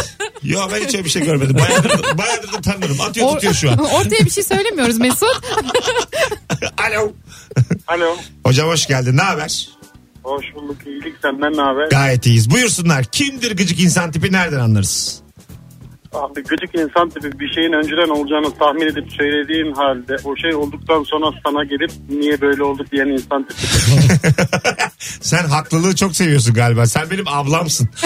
[SPEAKER 2] Yo ben hiç öyle bir şey görmedim. Bayağıdır, da- bayağıdır da tanırım. Atıyor
[SPEAKER 4] Or-
[SPEAKER 2] tutuyor şu an.
[SPEAKER 4] Ortaya bir şey söylemiyoruz Mesut.
[SPEAKER 2] Alo.
[SPEAKER 5] Alo.
[SPEAKER 2] Hocam hoş geldin. Ne haber?
[SPEAKER 5] Hoş bulduk. İyilik senden ne haber?
[SPEAKER 2] Gayet iyiyiz. Buyursunlar. Kimdir gıcık insan tipi nereden anlarız?
[SPEAKER 5] Abi gıcık insan tipi bir şeyin önceden olacağını tahmin edip söylediğin halde o şey olduktan sonra sana gelip niye böyle oldu diyen insan tipi.
[SPEAKER 2] Sen haklılığı çok seviyorsun galiba. Sen benim ablamsın.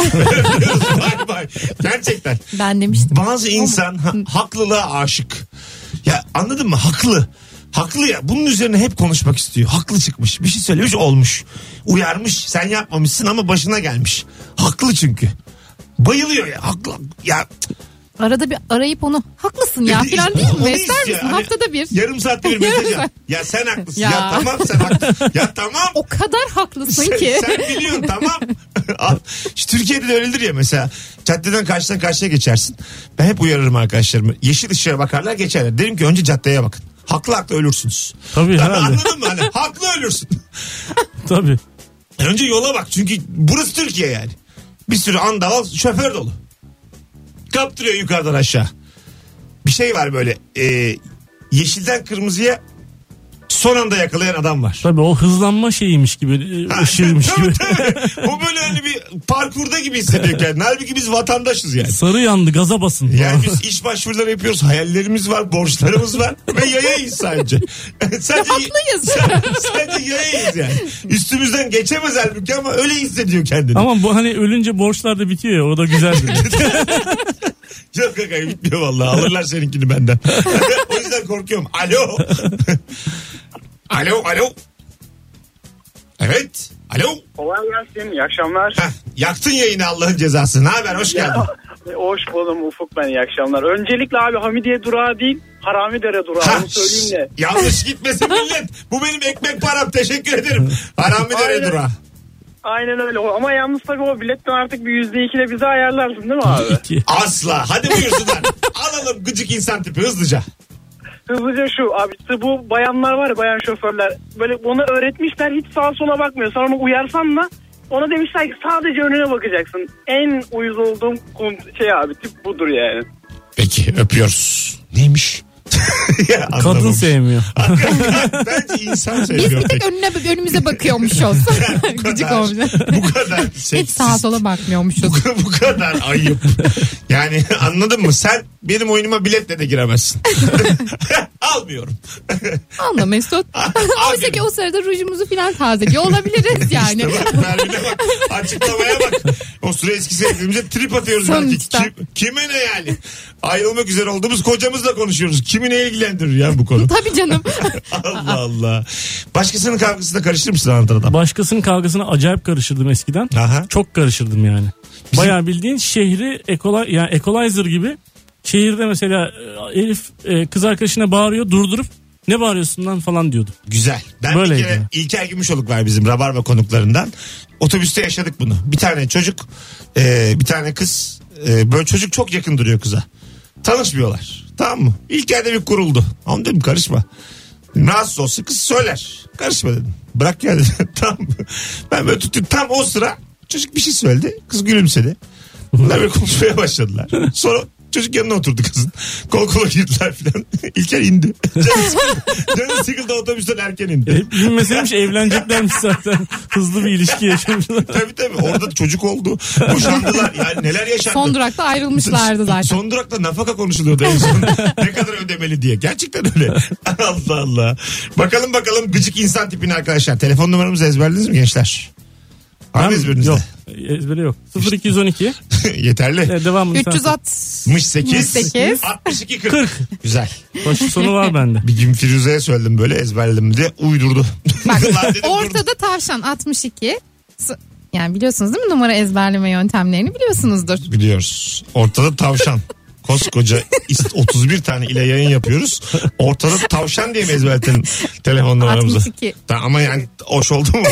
[SPEAKER 2] Bay bay. Gerçekten.
[SPEAKER 4] Ben demiştim.
[SPEAKER 2] Bazı insan ha- haklılığa aşık. Ya anladın mı? Haklı. Haklı ya. Bunun üzerine hep konuşmak istiyor. Haklı çıkmış. Bir şey söylemiş olmuş. Uyarmış. Sen yapmamışsın ama başına gelmiş. Haklı çünkü. Bayılıyor ya. Haklı. Ya e,
[SPEAKER 4] Arada bir arayıp onu haklısın ya falan değil
[SPEAKER 2] Onu
[SPEAKER 4] mi? İster
[SPEAKER 2] istiyor.
[SPEAKER 4] misin?
[SPEAKER 2] Hani
[SPEAKER 4] Haftada bir.
[SPEAKER 2] Yarım saatte bir mesaj at. Ya sen haklısın. Ya,
[SPEAKER 4] Ya.
[SPEAKER 2] tamam sen haklısın. Ya tamam.
[SPEAKER 4] O kadar haklısın ki.
[SPEAKER 2] Sen, sen biliyorsun tamam. Al. Şu Türkiye'de de öyledir ya mesela. Caddeden karşıdan karşıya geçersin. Ben hep uyarırım arkadaşlarımı. Yeşil ışığa bakarlar geçerler. Derim ki önce caddeye bakın. Haklı haklı ölürsünüz.
[SPEAKER 3] Tabii, herhalde.
[SPEAKER 2] Anladın mı? Hani haklı ölürsün.
[SPEAKER 3] Tabii.
[SPEAKER 2] Önce yola bak çünkü burası Türkiye yani. Bir sürü andaval şoför dolu. Kaptırıyor yukarıdan aşağı. Bir şey var böyle e, yeşilden kırmızıya son anda yakalayan adam var.
[SPEAKER 3] Tabii o hızlanma şeyiymiş gibi. e, ışığıymış gibi.
[SPEAKER 2] Tabii, tabii. Bu böyle hani bir parkurda gibi hissediyor kendini. Halbuki biz vatandaşız yani.
[SPEAKER 3] Sarı yandı gaza basın.
[SPEAKER 2] Yani biz iş başvuruları yapıyoruz. Hayallerimiz var, borçlarımız var ve yayayız sadece. sadece
[SPEAKER 4] haklıyız.
[SPEAKER 2] Sen- sadece yayayız yani. Üstümüzden geçemez halbuki ama öyle hissediyor kendini.
[SPEAKER 3] Ama bu hani ölünce borçlar da bitiyor ya o da güzel bir.
[SPEAKER 2] Yok kanka bitmiyor vallahi. Alırlar seninkini benden. o yüzden korkuyorum. Alo. alo, alo. Evet. Alo.
[SPEAKER 5] Kolay gelsin. İyi akşamlar.
[SPEAKER 2] Heh, yaktın yayını Allah'ın cezası. Ne haber? Hoş geldin.
[SPEAKER 5] Ya, hoş buldum Ufuk ben iyi akşamlar. Öncelikle abi Hamidiye durağı değil Haramidere durağı
[SPEAKER 2] Ha,
[SPEAKER 5] onu söyleyeyim de.
[SPEAKER 2] Yanlış gitmesin millet. Bu benim ekmek param. Teşekkür ederim. Haram bir
[SPEAKER 5] Aynen.
[SPEAKER 2] nereye dura.
[SPEAKER 5] Aynen öyle ama yalnız tabii o biletten artık bir yüzde iki de bize ayarlarsın değil mi abi?
[SPEAKER 3] İki.
[SPEAKER 2] Asla. Hadi buyursunlar. Alalım gıcık insan tipi hızlıca.
[SPEAKER 5] Hızlıca şu abi işte bu bayanlar var ya bayan şoförler böyle ona öğretmişler hiç sağa sola bakmıyor. Sen onu uyarsan da ona demişler ki sadece önüne bakacaksın. En uyuz olduğum kon- şey abi tip budur yani.
[SPEAKER 2] Peki öpüyoruz. Neymiş? Ya,
[SPEAKER 3] Kadın
[SPEAKER 2] anlamamış.
[SPEAKER 3] sevmiyor.
[SPEAKER 2] Bence insan
[SPEAKER 4] Biz
[SPEAKER 2] seviyor
[SPEAKER 4] bir tek önüne önümüze bakıyormuş olsun. Gıcık olmuş.
[SPEAKER 2] Bu kadar.
[SPEAKER 4] Hiç
[SPEAKER 2] seksiz.
[SPEAKER 4] sağa sola bakmıyormuşuz.
[SPEAKER 2] bu kadar ayıp. Yani anladın mı? Sen benim oyunuma biletle de giremezsin. Almıyorum.
[SPEAKER 4] Anla Mesut. Oysa ki o sırada rujumuzu falan tazeliyor olabiliriz yani.
[SPEAKER 2] İşte bak, Merve'ne bak. Açıklamaya bak. O süre eski sevgilimize trip atıyoruz belki.
[SPEAKER 4] Sonuçta.
[SPEAKER 2] Kim, kime ne yani? Ayrılmak üzere olduğumuz kocamızla konuşuyoruz. Kimi ne ilgilendirir ya bu konu?
[SPEAKER 4] Tabii canım.
[SPEAKER 2] Allah Allah. Başkasının kavgasına karıştır mısın anlatan adam?
[SPEAKER 3] Başkasının kavgasına acayip karışırdım eskiden.
[SPEAKER 2] Aha.
[SPEAKER 3] Çok karışırdım yani. Bayağı bildiğin şehri ekola, yani equalizer gibi şehirde mesela e, Elif e, kız arkadaşına bağırıyor durdurup ne bağırıyorsun lan falan diyordu.
[SPEAKER 2] Güzel. Ben
[SPEAKER 3] Böyleydi.
[SPEAKER 2] bir kere İlker Gümüşoluk var bizim Rabarba konuklarından. Otobüste yaşadık bunu. Bir tane çocuk, e, bir tane kız. e, böyle çocuk çok yakın duruyor kıza. Tanışmıyorlar. Tamam mı? İlker de bir kuruldu. Ama dedim karışma. Rahatsız olsa kız söyler. Karışma dedim. Bırak ya dedim. tamam mı? Ben böyle tuttum. Tam o sıra çocuk bir şey söyledi. Kız gülümsedi. Bunlar böyle konuşmaya başladılar. Sonra çocuk yanına oturdu kızın. Kol kola girdiler filan. İlker indi. Canı sıkıldı. Canı sıkıldı otobüsten erken
[SPEAKER 3] E,
[SPEAKER 2] indi.
[SPEAKER 3] Hep bilmeseymiş evleneceklermiş zaten. Hızlı bir ilişki yaşamışlar.
[SPEAKER 2] tabii tabii orada çocuk oldu. Boşandılar. Yani neler yaşandı.
[SPEAKER 4] Son durakta ayrılmışlardı zaten.
[SPEAKER 2] Son durakta nafaka konuşuluyordu en son. ne kadar ödemeli diye. Gerçekten öyle. Allah Allah. Bakalım bakalım gıcık insan tipini arkadaşlar. Telefon numaramızı ezberlediniz mi gençler? Var mı
[SPEAKER 3] Ben-
[SPEAKER 2] ezberinizde?
[SPEAKER 3] Yok. Ezbere yok. 0212.
[SPEAKER 2] Yeterli.
[SPEAKER 3] E, devamlı.
[SPEAKER 4] 360.
[SPEAKER 2] 68
[SPEAKER 4] 68.
[SPEAKER 2] 62 40. Güzel.
[SPEAKER 3] Baş sonu var bende.
[SPEAKER 2] Bir gün Firuze'ye söyledim böyle ezberledim diye uydurdu.
[SPEAKER 4] Bak
[SPEAKER 2] Lan dedim, durdu.
[SPEAKER 4] ortada tavşan 62. S- Yani biliyorsunuz değil mi numara ezberleme yöntemlerini biliyorsunuzdur.
[SPEAKER 2] Biliyoruz. Ortada tavşan. Koskoca ist- 31 tane ile yayın yapıyoruz. Ortada tavşan diye mi ezberletin telefon numaramızı?
[SPEAKER 4] 62.
[SPEAKER 2] Ta- ama yani hoş oldu mu?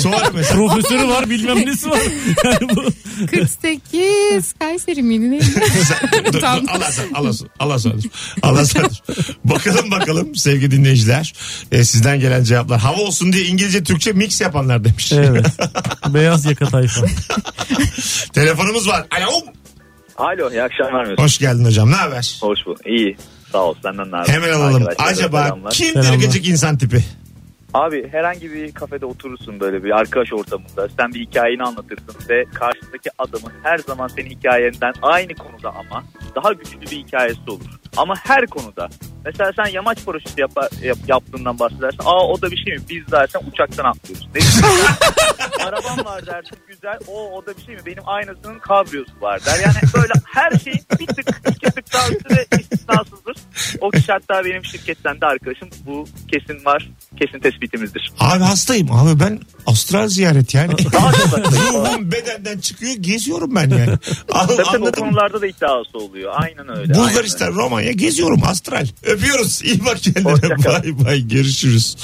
[SPEAKER 2] Sonra mesela.
[SPEAKER 3] Profesörü var bilmem nesi var. Yani bu
[SPEAKER 4] 48 Kayseri miydi neydi?
[SPEAKER 2] Dur, dur,
[SPEAKER 4] Tam-
[SPEAKER 2] Alasın, alasın, alasın. Alasın. Bakalım bakalım sevgili dinleyiciler. E, sizden gelen cevaplar. Hava olsun diye İngilizce Türkçe mix yapanlar demiş.
[SPEAKER 3] Evet. Beyaz yaka tayfa.
[SPEAKER 2] Telefonumuz var. Alo.
[SPEAKER 8] Alo iyi akşamlar Mesut.
[SPEAKER 2] Hoş geldin hocam. Ne haber?
[SPEAKER 8] Hoş bulduk. İyi. Sağ ol senden ne haber?
[SPEAKER 2] Hemen alalım.
[SPEAKER 8] Arkadaşlar,
[SPEAKER 2] Acaba
[SPEAKER 8] selamlar.
[SPEAKER 2] kimdir
[SPEAKER 3] Selamlar.
[SPEAKER 2] gıcık insan tipi?
[SPEAKER 8] Abi herhangi bir kafede oturursun böyle bir arkadaş ortamında. Sen bir hikayeni anlatırsın ve karşındaki adamın her zaman senin hikayenden aynı konuda ama daha güçlü bir hikayesi olur. Ama her konuda. Mesela sen yamaç paraşütü yapa- yap- yaptığından bahsedersin. Aa o da bir şey mi? Biz zaten uçaktan atlıyoruz. Ne bileyim. Arabam var dersin güzel. O o da bir şey mi? Benim aynasının kabriyosu var der. Yani böyle her şeyin bir tık iki tık daha üstüne istisnasızdır. O kişi hatta benim şirketten de arkadaşım. Bu kesin var. Kesin tespitimizdir.
[SPEAKER 2] Abi hastayım. Abi ben astral ziyaret yani.
[SPEAKER 8] Daha çok şey hatta.
[SPEAKER 2] Ruhum bedenden çıkıyor geziyorum ben yani. Al-
[SPEAKER 8] Zaten o
[SPEAKER 2] anladın mı?
[SPEAKER 8] konularda da iddiası oluyor. Aynen öyle.
[SPEAKER 2] Bulgaristan, Romanya geziyorum astral. Öpüyoruz. İyi bak kendine.
[SPEAKER 8] Hoşça kal.
[SPEAKER 2] Bay bay görüşürüz.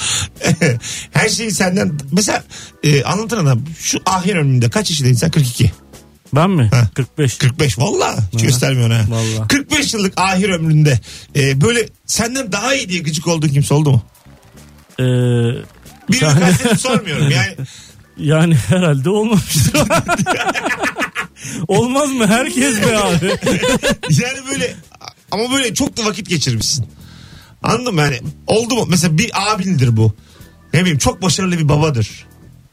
[SPEAKER 2] Her şeyi senden mesela e, anlatan adam şu ahir önünde kaç yaşında insan? 42.
[SPEAKER 3] Ben mi?
[SPEAKER 2] Ha.
[SPEAKER 3] 45.
[SPEAKER 2] 45 valla hiç
[SPEAKER 3] Aha.
[SPEAKER 2] göstermiyorsun ha.
[SPEAKER 3] Valla.
[SPEAKER 2] 45 yıllık ahir ömründe e, böyle senden daha iyi diye gıcık olduğun kimse oldu mu?
[SPEAKER 3] Ee,
[SPEAKER 2] Bir kastedip sormuyorum yani.
[SPEAKER 3] yani herhalde olmamıştır. Olmaz mı? Herkes be abi.
[SPEAKER 2] Yani böyle ama böyle çok da vakit geçirmişsin. Anladın mı yani? Oldu mu? Mesela bir abindir bu. Ne bileyim çok başarılı bir babadır.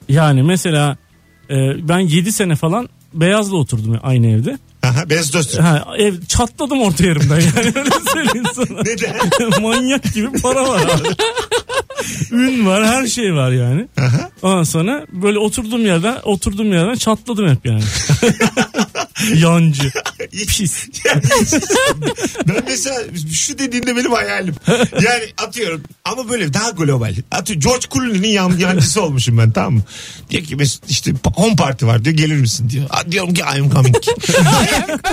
[SPEAKER 3] Yani mesela e, ben 7 sene falan Beyaz'la oturdum aynı evde.
[SPEAKER 2] Aha, Beyazıt Öztürk.
[SPEAKER 3] Ha, ev çatladım orta yerimden yani öyle söyleyeyim sana.
[SPEAKER 2] Neden?
[SPEAKER 3] Manyak gibi para var abi. Ün var her şey var yani.
[SPEAKER 2] Aha.
[SPEAKER 3] Ondan sonra böyle oturduğum yerden oturduğum yerden çatladım hep yani. Yancı. Pis.
[SPEAKER 2] ben mesela şu dediğinde benim hayalim. Yani atıyorum ama böyle daha global. Atıyorum George Clooney'nin yan, yancısı olmuşum ben tamam mı? Diyor ki "Mesut, işte home party var diyor gelir misin diyor. "Aa," Diyorum ki I'm coming.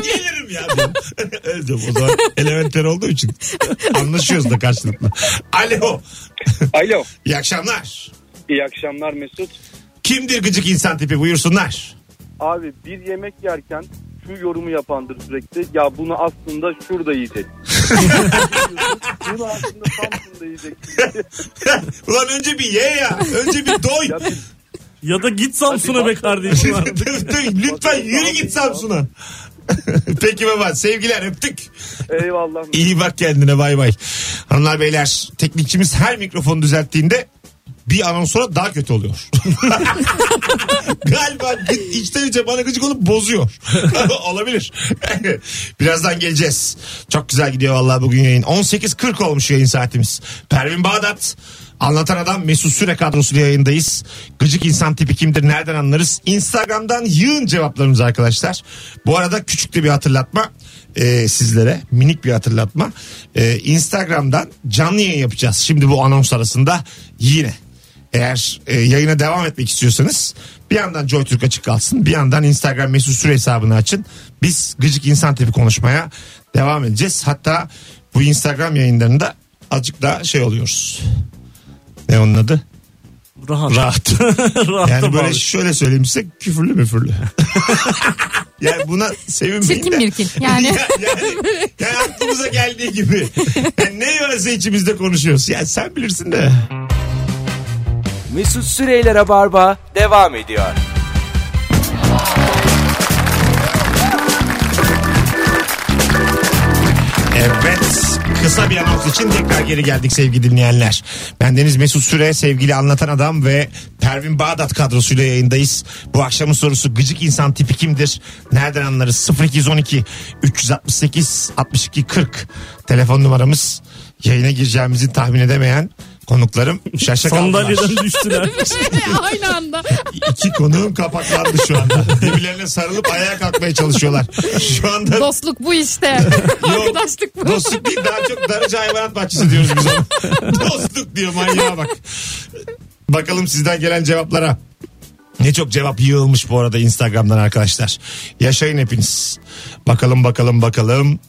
[SPEAKER 2] Gelirim ya diyorum. Öyle diyorum o zaman elementer olduğu için anlaşıyoruz da karşılıklı. Alo
[SPEAKER 9] Alo.
[SPEAKER 2] iyi akşamlar.
[SPEAKER 9] İyi akşamlar Mesut.
[SPEAKER 2] Kimdir gıcık insan tipi buyursunlar.
[SPEAKER 9] Abi bir yemek yerken şu yorumu yapandır sürekli. Ya bunu aslında şurada yiyecek. bunu aslında Samsun'da yiyecek.
[SPEAKER 2] Ulan önce bir ye ya. Önce bir doy.
[SPEAKER 9] Ya bir
[SPEAKER 3] Ya da git Samsun'a be kardeşim. abi.
[SPEAKER 2] Tabii, tabii. Lütfen yürü git Samsun'a. Peki baba sevgiler öptük.
[SPEAKER 9] eyvallah.
[SPEAKER 2] İyi bak kendine bay bay. Hanımlar beyler teknikçimiz her mikrofonu düzelttiğinde bir anons sonra daha kötü oluyor. Galiba gı- içten içe bana gıcık olup bozuyor. Olabilir. Birazdan geleceğiz. Çok güzel gidiyor vallahi bugün yayın. 18.40 olmuş yayın saatimiz. Pervin Bağdat. Anlatan Adam Mesut Süre kadrosuyla yayındayız. Gıcık insan tipi kimdir nereden anlarız? Instagram'dan yığın cevaplarımızı arkadaşlar. Bu arada küçük de bir hatırlatma e, sizlere minik bir hatırlatma. E, Instagram'dan canlı yayın yapacağız. Şimdi bu anons arasında yine. Eğer e, yayına devam etmek istiyorsanız bir yandan JoyTürk açık kalsın bir yandan Instagram mesut süre hesabını açın. Biz gıcık insan tipi konuşmaya devam edeceğiz. Hatta bu Instagram yayınlarında azıcık daha şey oluyoruz. Ne onun adı?
[SPEAKER 3] Rahat.
[SPEAKER 2] Rahat.
[SPEAKER 3] Rahat
[SPEAKER 2] Yani böyle
[SPEAKER 3] abi.
[SPEAKER 2] şöyle söyleyeyim size küfürlü müfürlü. yani buna sevinmeyin
[SPEAKER 4] Çirkin
[SPEAKER 2] de.
[SPEAKER 4] mirkin. Yani
[SPEAKER 2] Ya- yani, yani aklımıza geldiği gibi. Yani ne varsa içimizde konuşuyoruz. Yani sen bilirsin de.
[SPEAKER 1] Mesut Süreyler'e barba devam ediyor.
[SPEAKER 2] Evet. Kısa bir anons için tekrar geri geldik sevgili dinleyenler. Bendeniz Mesut Süre, sevgili Anlatan Adam ve Pervin Bağdat kadrosuyla yayındayız. Bu akşamın sorusu gıcık insan tipi kimdir? Nereden anlarız? 0212 368 62 40 telefon numaramız. Yayına gireceğimizi tahmin edemeyen konuklarım şaşa kaldılar.
[SPEAKER 3] Sandalyeden düştüler.
[SPEAKER 4] aynı anda.
[SPEAKER 2] İki konuğum kapaklandı şu anda. Birbirlerine sarılıp ayağa kalkmaya çalışıyorlar. Şu anda
[SPEAKER 4] Dostluk bu işte. Arkadaşlık bu.
[SPEAKER 2] Dostluk değil daha çok darıcı hayvanat bahçesi diyoruz biz ona. Dostluk diyor manyağa bak. Bakalım sizden gelen cevaplara. Ne çok cevap yığılmış bu arada Instagram'dan arkadaşlar. Yaşayın hepiniz. Bakalım bakalım bakalım.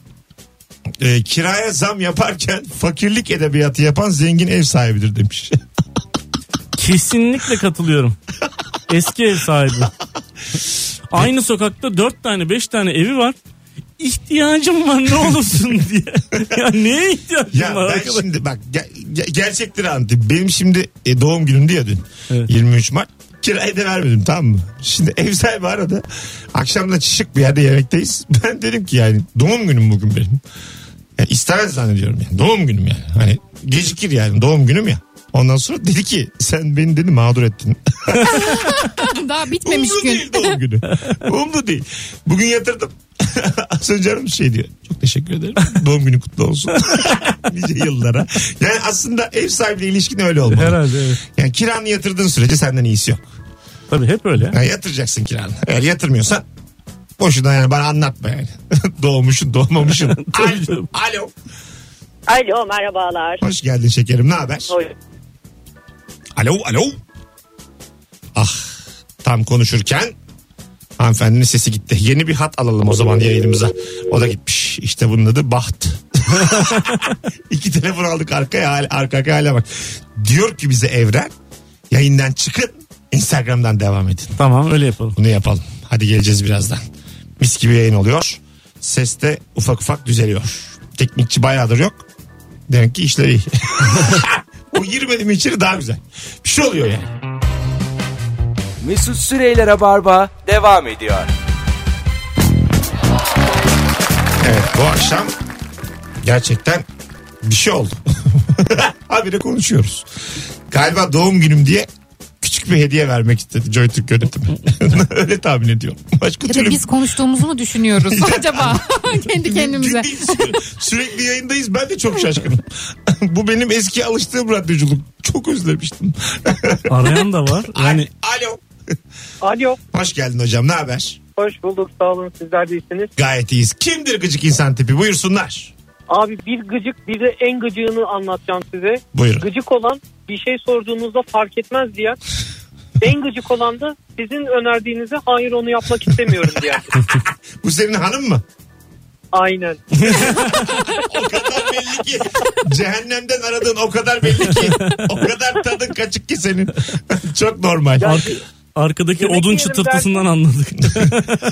[SPEAKER 2] Ee, kiraya zam yaparken fakirlik edebiyatı yapan zengin ev sahibidir demiş.
[SPEAKER 3] Kesinlikle katılıyorum. Eski ev sahibi. Aynı sokakta dört tane beş tane evi var. İhtiyacım var ne olursun diye. ya neye ihtiyacım
[SPEAKER 2] Ya
[SPEAKER 3] var
[SPEAKER 2] ben
[SPEAKER 3] arkadaş?
[SPEAKER 2] şimdi bak ge- ge- gerçektir anlatayım. Benim şimdi e, doğum günümdü ya dün.
[SPEAKER 3] Evet.
[SPEAKER 2] 23 Mart. Kirayı da vermedim tamam mı? Şimdi ev sahibi aradı. Akşam da şık bir yerde yemekteyiz. Ben dedim ki yani doğum günüm bugün benim. Ya istemez zannediyorum yani. Doğum günüm yani. Hani gecikir yani doğum günüm ya. Ondan sonra dedi ki sen beni dedi mağdur ettin.
[SPEAKER 4] Daha bitmemiş
[SPEAKER 2] Umdu
[SPEAKER 4] gün.
[SPEAKER 2] değil doğum günü. Umdu değil. Bugün yatırdım. Az önce hanım şey diyor. Çok teşekkür ederim. Doğum günü kutlu olsun. nice yıllara. Yani aslında ev sahibiyle ilişkin öyle olmalı.
[SPEAKER 3] Herhalde evet.
[SPEAKER 2] Yani kiranı yatırdığın sürece senden iyisi yok.
[SPEAKER 3] Tabii hep öyle.
[SPEAKER 2] Yani yatıracaksın kiranı. Eğer yatırmıyorsan boşuna yani bana anlatma yani. Doğmuşsun doğmamışsın. Alo. Alo.
[SPEAKER 10] Alo merhabalar.
[SPEAKER 2] Hoş geldin şekerim ne haber?
[SPEAKER 5] Şey,
[SPEAKER 10] Hoş.
[SPEAKER 2] Alo alo. Ah tam konuşurken hanımefendinin sesi gitti. Yeni bir hat alalım o zaman yayınımıza. O da gitmiş. İşte bunun adı Baht. İki telefon aldık arkaya hal- arka arkaya hale bak. Diyor ki bize Evren yayından çıkın Instagram'dan devam edin.
[SPEAKER 3] Tamam öyle yapalım.
[SPEAKER 2] Bunu yapalım. Hadi geleceğiz birazdan. Mis gibi yayın oluyor. Ses de ufak ufak düzeliyor. Teknikçi bayağıdır yok. Demek ki işleri iyi. o girmedi mi içeri daha güzel. Bir şey oluyor yani.
[SPEAKER 1] Mesut Süreyler'e barba devam ediyor.
[SPEAKER 2] Evet bu akşam gerçekten bir şey oldu. Habire konuşuyoruz. Galiba doğum günüm diye küçük bir hediye vermek istedi JoyTürk yönetimi. Öyle tahmin ediyorum. Başka
[SPEAKER 4] Ya
[SPEAKER 2] türlü
[SPEAKER 4] da biz konuştuğumuzu mu düşünüyoruz acaba? Kendi kendimize.
[SPEAKER 2] Sürekli yayındayız. Ben de çok şaşkınım. Bu benim eski alıştığım radyoculuk. Çok özlemiştim.
[SPEAKER 3] Arayan da var. Yani
[SPEAKER 2] Alo.
[SPEAKER 5] Alo.
[SPEAKER 2] Hoş geldin hocam. Ne haber?
[SPEAKER 5] Hoş bulduk sağ olun sizler de iyisiniz.
[SPEAKER 2] Gayet iyiyiz. Kimdir gıcık insan tipi? Buyursunlar.
[SPEAKER 5] Abi bir gıcık bir de en gıcığını anlatacağım size.
[SPEAKER 2] Buyurun.
[SPEAKER 5] Gıcık olan bir şey sorduğunuzda fark etmez diye. En gıcık olan da sizin önerdiğinize hayır onu yapmak istemiyorum diye.
[SPEAKER 2] Bu senin hanım mı?
[SPEAKER 5] Aynen.
[SPEAKER 2] O kadar belli ki. Cehennemden aradığın o kadar belli ki. O kadar tadın kaçık ki senin. Çok normal.
[SPEAKER 3] Ar- arkadaki
[SPEAKER 5] Yemek
[SPEAKER 3] odun
[SPEAKER 5] yiyelim
[SPEAKER 3] çıtırtısından anladık.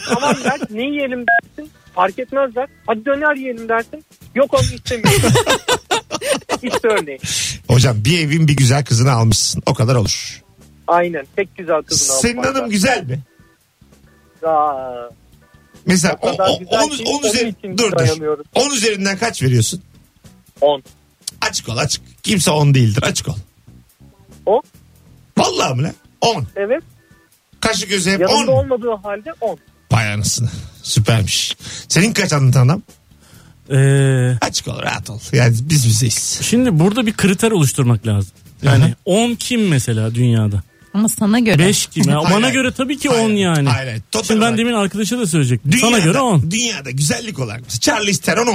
[SPEAKER 5] Tamam der ne yiyelim dersin fark etmezler. Hadi döner yiyelim dersin. Yok onu istemiyorum. işte örneği.
[SPEAKER 2] Hocam bir evin bir güzel kızını almışsın. O kadar olur.
[SPEAKER 5] Aynen pek güzel kızını aldım.
[SPEAKER 2] Senin hanım güzel mi?
[SPEAKER 5] Aa,
[SPEAKER 2] Mesela
[SPEAKER 5] O kadar
[SPEAKER 2] 10
[SPEAKER 5] güzel ki onun için
[SPEAKER 2] dur dur.
[SPEAKER 5] dayanıyoruz.
[SPEAKER 2] 10 üzerinden kaç veriyorsun?
[SPEAKER 5] 10.
[SPEAKER 2] Açık ol açık. Kimse 10 değildir açık ol.
[SPEAKER 5] On?
[SPEAKER 2] Vallahi mi lan? 10.
[SPEAKER 5] Evet
[SPEAKER 2] Kaşı gözü hep
[SPEAKER 5] yanında
[SPEAKER 2] 10.
[SPEAKER 5] olmadığı halde 10.
[SPEAKER 2] Vay anasını. Süpermiş. Senin kaç anlatan adam?
[SPEAKER 3] Ee,
[SPEAKER 2] Açık ol rahat ol. Yani biz bizeyiz.
[SPEAKER 3] şimdi burada bir kriter oluşturmak lazım.
[SPEAKER 2] Aha.
[SPEAKER 3] Yani 10 kim mesela dünyada?
[SPEAKER 4] Ama sana göre.
[SPEAKER 3] 5 kim? Ya?
[SPEAKER 2] Hayır,
[SPEAKER 3] Bana
[SPEAKER 2] hayır.
[SPEAKER 3] göre tabii ki 10
[SPEAKER 2] Hayır,
[SPEAKER 3] yani.
[SPEAKER 2] hayır. Total
[SPEAKER 3] Şimdi ben
[SPEAKER 2] olarak.
[SPEAKER 3] demin arkadaşa da söyleyecektim.
[SPEAKER 2] Dünyada,
[SPEAKER 3] Sana göre 10.
[SPEAKER 2] Dünyada güzellik olarak. mesela Charlize Theron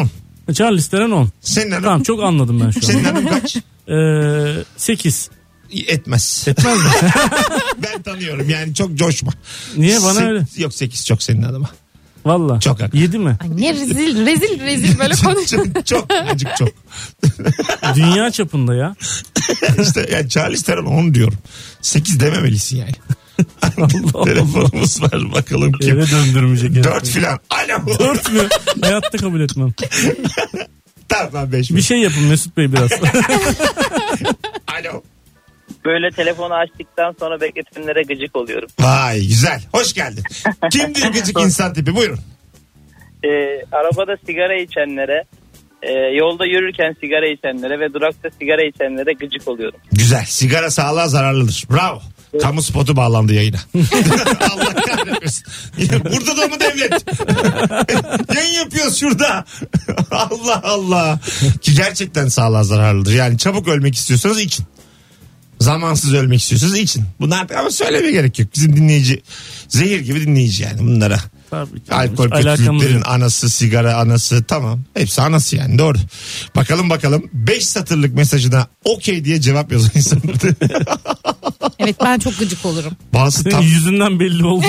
[SPEAKER 2] 10.
[SPEAKER 3] Charles Theron 10.
[SPEAKER 2] Senin hanım,
[SPEAKER 3] Tamam çok anladım ben şu
[SPEAKER 2] senin hanım kaç?
[SPEAKER 3] an. Ee, 8.
[SPEAKER 2] Etmez.
[SPEAKER 3] Etmez mi?
[SPEAKER 2] ben tanıyorum yani çok coşma.
[SPEAKER 3] Niye bana
[SPEAKER 2] Sek-
[SPEAKER 3] öyle?
[SPEAKER 2] Yok 8 çok senin adıma.
[SPEAKER 3] Valla.
[SPEAKER 2] Çok haklı.
[SPEAKER 3] 7 mi?
[SPEAKER 4] Ay ne rezil rezil rezil böyle
[SPEAKER 2] çok,
[SPEAKER 4] konuşuyor.
[SPEAKER 2] çok, çok acık çok.
[SPEAKER 3] Dünya çapında ya.
[SPEAKER 2] işte yani Charles Theron 10 diyorum. 8 dememelisin yani. Telefonumuz var bakalım kim.
[SPEAKER 3] Eve döndürmeyecek.
[SPEAKER 2] 4 filan. Alo.
[SPEAKER 3] 4 mü? Hayatta kabul etmem.
[SPEAKER 2] tamam 5
[SPEAKER 3] Bir şey yapın Mesut Bey biraz. şey-
[SPEAKER 2] Alo.
[SPEAKER 10] Böyle telefonu açtıktan sonra bekletenlere gıcık oluyorum.
[SPEAKER 2] Vay güzel. Hoş geldin. Kimdir gıcık insan tipi? Buyurun.
[SPEAKER 10] Ee, arabada sigara içenlere, e, yolda yürürken sigara içenlere ve durakta sigara içenlere gıcık oluyorum.
[SPEAKER 2] Güzel. Sigara sağlığa zararlıdır. Bravo. Kamu spotu bağlandı yayına. Allah kahretmesin. Ya Burada da mı devlet? Yayın yapıyoruz şurada. Allah Allah. Ki gerçekten sağlığa zararlıdır. Yani çabuk ölmek istiyorsanız için. Zamansız ölmek istiyorsanız için. Bunlar ama söylemeye gerek yok. Bizim dinleyici zehir gibi dinleyici yani bunlara.
[SPEAKER 3] Tabii ki.
[SPEAKER 2] Alkol
[SPEAKER 3] Alakamız yok.
[SPEAKER 2] kötülüklerin anası, sigara anası tamam. Hepsi anası yani doğru. Bakalım bakalım 5 satırlık mesajına okey diye cevap yazan insanlar.
[SPEAKER 4] Evet ben çok gıcık olurum.
[SPEAKER 2] Bazısı
[SPEAKER 3] Senin
[SPEAKER 2] tam
[SPEAKER 3] yüzünden belli oldu.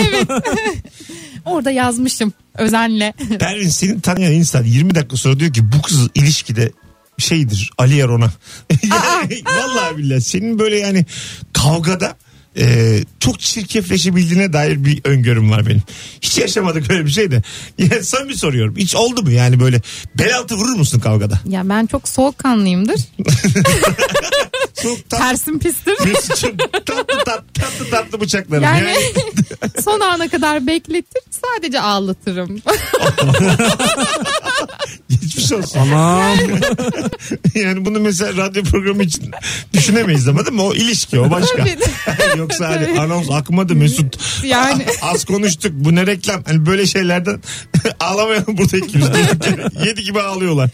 [SPEAKER 4] Orada yazmışım özenle.
[SPEAKER 2] Pervin seni tanıyan insan 20 dakika sonra diyor ki bu kız ilişkide şeydir Ali yer ona. Yani Vallahi billahi senin böyle yani kavgada e, çok çirkefleşebildiğine dair bir öngörüm var benim. Hiç yaşamadık öyle bir şey de. Yani sana bir soruyorum. Hiç oldu mu yani böyle bel altı vurur musun kavgada?
[SPEAKER 4] Ya ben çok soğukkanlıyımdır.
[SPEAKER 2] Çok tatlı
[SPEAKER 4] Tersim pistir.
[SPEAKER 2] Mesut'cum tatlı tatlı tatlı tatlı bıçaklarım.
[SPEAKER 4] Yani-
[SPEAKER 2] Yani...
[SPEAKER 4] Son ana kadar bekletir. Sadece ağlatırım.
[SPEAKER 2] Geçmiş olsun.
[SPEAKER 3] Aman.
[SPEAKER 2] Yani bunu mesela radyo programı için düşünemeyiz ama değil mi? O ilişki o başka.
[SPEAKER 4] Tabii.
[SPEAKER 2] Yoksa hani anons akmadı Mesut.
[SPEAKER 4] Yani.
[SPEAKER 2] Az konuştuk bu ne reklam. Hani böyle şeylerden ağlamayalım burada ikimiz. de. Yedi gibi ağlıyorlar.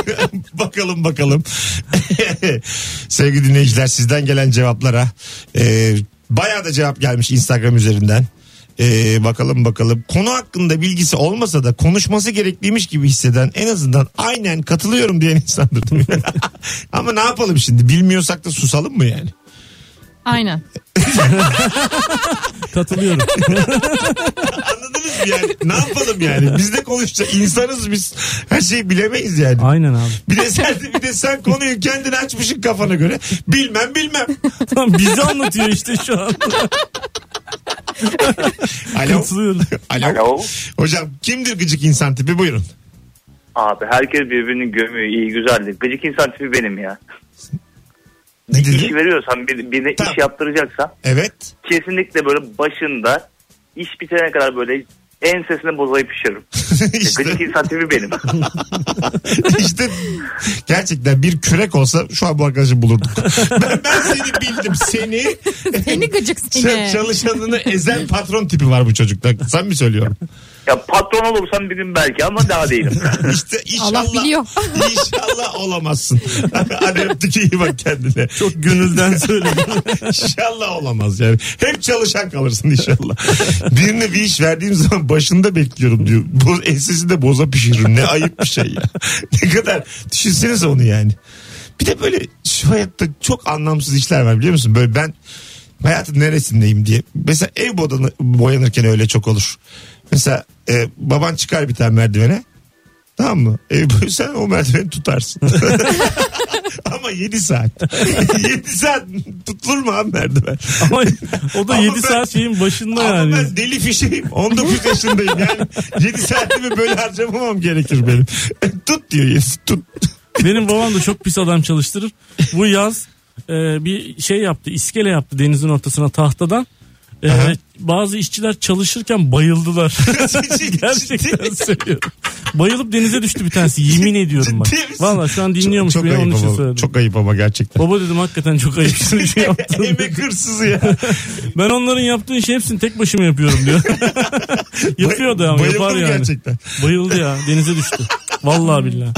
[SPEAKER 2] bakalım bakalım. Sevgili dinleyiciler sizden gelen cevaplara. Ee, bayağı da cevap gelmiş Instagram üzerinden. Ee, bakalım bakalım. Konu hakkında bilgisi olmasa da konuşması gerekliymiş gibi hisseden en azından aynen katılıyorum diyen insandır. değil mi? Ama ne yapalım şimdi? Bilmiyorsak da susalım mı yani?
[SPEAKER 4] Aynen.
[SPEAKER 3] Katılıyorum.
[SPEAKER 2] Anladınız mı yani? Ne yapalım yani? Biz de konuşacağız. İnsanız biz. Her şeyi bilemeyiz yani.
[SPEAKER 3] Aynen abi.
[SPEAKER 2] Bir de sen bir de sen konuyu kendin açmışsın kafana göre. Bilmem bilmem.
[SPEAKER 3] Tamam bizi anlatıyor işte şu an.
[SPEAKER 2] Alo.
[SPEAKER 3] Katılıyorum.
[SPEAKER 2] Alo. Hocam kimdir gıcık insan tipi? Buyurun.
[SPEAKER 8] Abi herkes birbirini gömüyor iyi güzeldi. Gıcık insan tipi benim ya.
[SPEAKER 2] Ne
[SPEAKER 8] İş
[SPEAKER 2] dedi?
[SPEAKER 8] veriyorsan bir, birine
[SPEAKER 2] Tamam.
[SPEAKER 8] iş yaptıracaksan
[SPEAKER 2] Evet.
[SPEAKER 8] kesinlikle böyle başında iş bitene kadar böyle ensesine bozayı pişiririm.
[SPEAKER 2] işte,
[SPEAKER 8] Gıcık insan tipi benim.
[SPEAKER 2] işte gerçekten bir kürek olsa şu an bu arkadaşı bulurduk. Ben, ben seni bildim. Seni
[SPEAKER 4] Seni gıcık
[SPEAKER 2] Ç-
[SPEAKER 4] seni.
[SPEAKER 2] Çalışanını ezen patron tipi var bu çocukta. Sen mi söylüyorum?
[SPEAKER 8] Ya patron olursam bir gün belki ama daha değilim.
[SPEAKER 2] İşte inşallah.
[SPEAKER 4] Allah biliyor.
[SPEAKER 2] İnşallah olamazsın. Hadi öptük iyi bak kendine.
[SPEAKER 3] Çok gönülden söyledim.
[SPEAKER 2] İnşallah olamaz yani. Hep çalışan kalırsın inşallah. Birine bir iş verdiğim zaman başında bekliyorum diyor. Bo ensesini de boza pişiririm. Ne ayıp bir şey ya. ne kadar düşünsenize onu yani. Bir de böyle şu hayatta çok anlamsız işler var biliyor musun? Böyle ben hayatın neresindeyim diye. Mesela ev bodanı, boyanırken öyle çok olur. Mesela e, baban çıkar bir tane merdivene. Tamam mı? E, bu- sen o merdiveni tutarsın. Ama 7 saat. 7 saat tutulur mu abi merdiven?
[SPEAKER 3] Ama o da
[SPEAKER 2] Ama
[SPEAKER 3] 7
[SPEAKER 2] ben-
[SPEAKER 3] saat şeyin başında
[SPEAKER 2] Ama
[SPEAKER 3] yani.
[SPEAKER 2] ben deli fişeyim. 19 yaşındayım. Yani 7 saatimi böyle harcamamam gerekir benim. E, tut diyor. yes, Tut.
[SPEAKER 3] Benim babam da çok pis adam çalıştırır. Bu yaz e, bir şey yaptı. iskele yaptı denizin ortasına tahtadan. E,
[SPEAKER 2] Aha.
[SPEAKER 3] bazı işçiler çalışırken bayıldılar. Gerçekten söylüyorum. Bayılıp denize düştü bir tanesi. Yemin ediyorum bak.
[SPEAKER 2] Ciddi misin?
[SPEAKER 3] Valla şu an dinliyormuş
[SPEAKER 2] çok, çok
[SPEAKER 3] beni
[SPEAKER 2] ayıp
[SPEAKER 3] onun için
[SPEAKER 2] ama.
[SPEAKER 3] söyledim.
[SPEAKER 2] Çok ayıp ama gerçekten.
[SPEAKER 3] Baba dedim hakikaten çok ayıpsın şey yaptın.
[SPEAKER 2] Emek hırsızı ya.
[SPEAKER 3] ben onların yaptığı işi hepsini tek başıma yapıyorum diyor. Yapıyor da ama
[SPEAKER 2] Bayıldım
[SPEAKER 3] yapar yani.
[SPEAKER 2] gerçekten.
[SPEAKER 3] Bayıldı ya denize düştü. Vallahi billahi.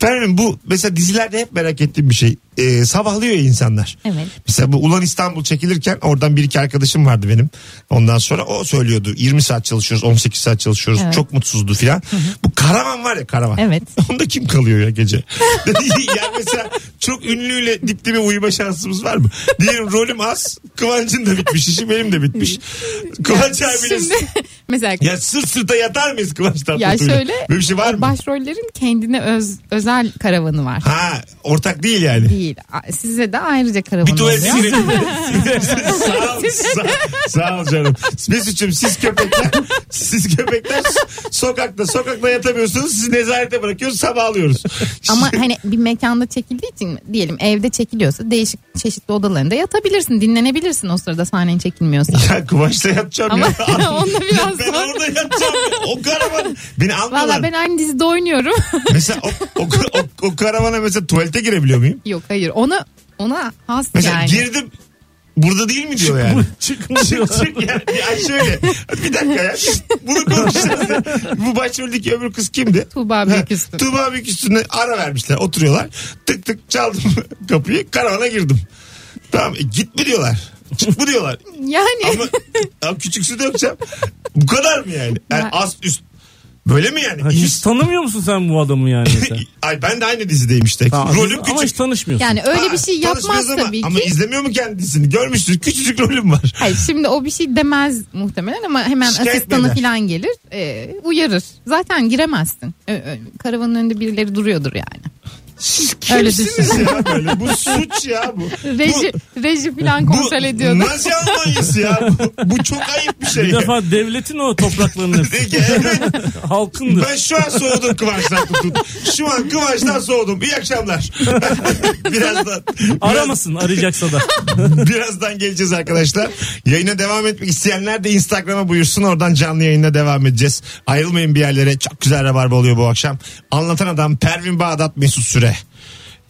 [SPEAKER 2] Fermin bu mesela dizilerde hep merak ettiğim bir şey. Ee, sabahlıyor ya insanlar.
[SPEAKER 4] Evet.
[SPEAKER 2] Mesela bu Ulan İstanbul çekilirken oradan bir iki arkadaşım vardı benim. Ondan sonra o söylüyordu 20 saat çalışıyoruz 18 saat çalışıyoruz
[SPEAKER 4] Evet.
[SPEAKER 2] çok mutsuzdu filan. Bu karavan var ya karavan.
[SPEAKER 4] Evet.
[SPEAKER 2] Onda kim kalıyor ya gece? yani mesela çok ünlüyle dip dibe uyuma şansımız var mı? Diyelim rolüm az Kıvanç'ın da bitmiş işi benim de bitmiş. Kıvanç abiyle
[SPEAKER 4] Şimdi mesela
[SPEAKER 2] ya sırt sırta yatar mıyız Kıvanç Tatlıtuğ'la?
[SPEAKER 4] ya şöyle
[SPEAKER 2] Böyle bir şey var mı?
[SPEAKER 4] başrollerin kendine öz özel karavanı var.
[SPEAKER 2] Ha ortak değil yani.
[SPEAKER 4] Değil. A- Size de ayrıca karavan
[SPEAKER 2] Bir tuvalet
[SPEAKER 4] oluyor.
[SPEAKER 2] sinek. sağ ol, sağ, sağ ol canım. Mesut'cum siz köpekler, siz köpekler sokakta, sokakta yatamıyorsunuz. Sizi nezarete bırakıyoruz, sabah alıyoruz.
[SPEAKER 4] Ama hani bir mekanda çekildiği için diyelim evde çekiliyorsa değişik çeşitli odalarında yatabilirsin, dinlenebilirsin o sırada sahnen çekilmiyorsa.
[SPEAKER 2] ya kumaşta yatacağım
[SPEAKER 4] Ama
[SPEAKER 2] ya.
[SPEAKER 4] onunla biraz
[SPEAKER 2] ben
[SPEAKER 4] zor.
[SPEAKER 2] orada yatacağım. ya. O karavan beni almıyorlar.
[SPEAKER 4] Valla ben aynı dizide oynuyorum.
[SPEAKER 2] Mesela o, o, o, o karavana mesela tuvalete girebiliyor muyum?
[SPEAKER 4] Yok hayır ona ona has
[SPEAKER 2] Mesela
[SPEAKER 4] yani.
[SPEAKER 2] girdim burada değil mi diyor yani.
[SPEAKER 3] Çıkmıyor.
[SPEAKER 2] Çık çık ya. Ya şöyle. Bir dakika ya. Şşt, Bunu konuşacağız. ya. Bu başroldeki öbür kız kimdi?
[SPEAKER 4] Tuğba Büyüküstün.
[SPEAKER 2] Tuğba Büyüküstü'ne ara vermişler. Oturuyorlar. Tık tık çaldım kapıyı. Karavana girdim. Tamam e, git mi diyorlar. Çık mı diyorlar.
[SPEAKER 4] yani
[SPEAKER 2] Ama, ama küçüksü dökeceğim. Bu kadar mı yani? yani
[SPEAKER 4] Ya-
[SPEAKER 2] az üst. Böyle mi yani?
[SPEAKER 3] Ha,
[SPEAKER 2] İyi-
[SPEAKER 3] Hiç tanımıyor musun sen bu adamı yani? sen?
[SPEAKER 2] Ay ben de aynı dizideyim işte.
[SPEAKER 3] Tamam,
[SPEAKER 2] Rolüm
[SPEAKER 3] Ama hiç
[SPEAKER 2] küçük.
[SPEAKER 3] tanışmıyorsun.
[SPEAKER 4] yani öyle
[SPEAKER 2] Ha,
[SPEAKER 4] bir şey yapmaz
[SPEAKER 2] tanışmıyoruz ama-
[SPEAKER 4] tabii ki.
[SPEAKER 2] Ama izlemiyor mu kendisini? Görmüşsünüz. Küçücük rolüm var.
[SPEAKER 4] Hayır şimdi o bir şey demez muhtemelen ama hemen
[SPEAKER 2] Şikayet mi
[SPEAKER 4] asistanı
[SPEAKER 2] eder?
[SPEAKER 4] falan gelir e, uyarır. Zaten giremezsin. Ö- ö- karavanın önünde birileri duruyordur yani.
[SPEAKER 2] Siz
[SPEAKER 4] Öyle
[SPEAKER 2] kimsiniz ya böyle? Bu suç ya bu.
[SPEAKER 4] Reji, reji falan kontrol ediyordu.
[SPEAKER 2] Bu Nazi Almanyası ya. Bu, bu çok ayıp bir şey.
[SPEAKER 3] Bir defa devletin o topraklarının
[SPEAKER 2] De ki, evet,
[SPEAKER 3] halkındır.
[SPEAKER 2] ben şu an soğudum Kıvanç'tan tutun. Şu an Kıvanç'tan soğudum. İyi akşamlar. birazdan, biraz,
[SPEAKER 3] Aramasın arayacaksa da.
[SPEAKER 2] birazdan geleceğiz arkadaşlar. Yayına devam etmek isteyenler de Instagram'a buyursun. Oradan canlı yayına devam edeceğiz. Ayrılmayın bir yerlere. Çok güzel rabarba oluyor bu akşam. Anlatan adam Pervin Bağdat Mesut Süre.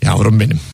[SPEAKER 2] Yavrum benim.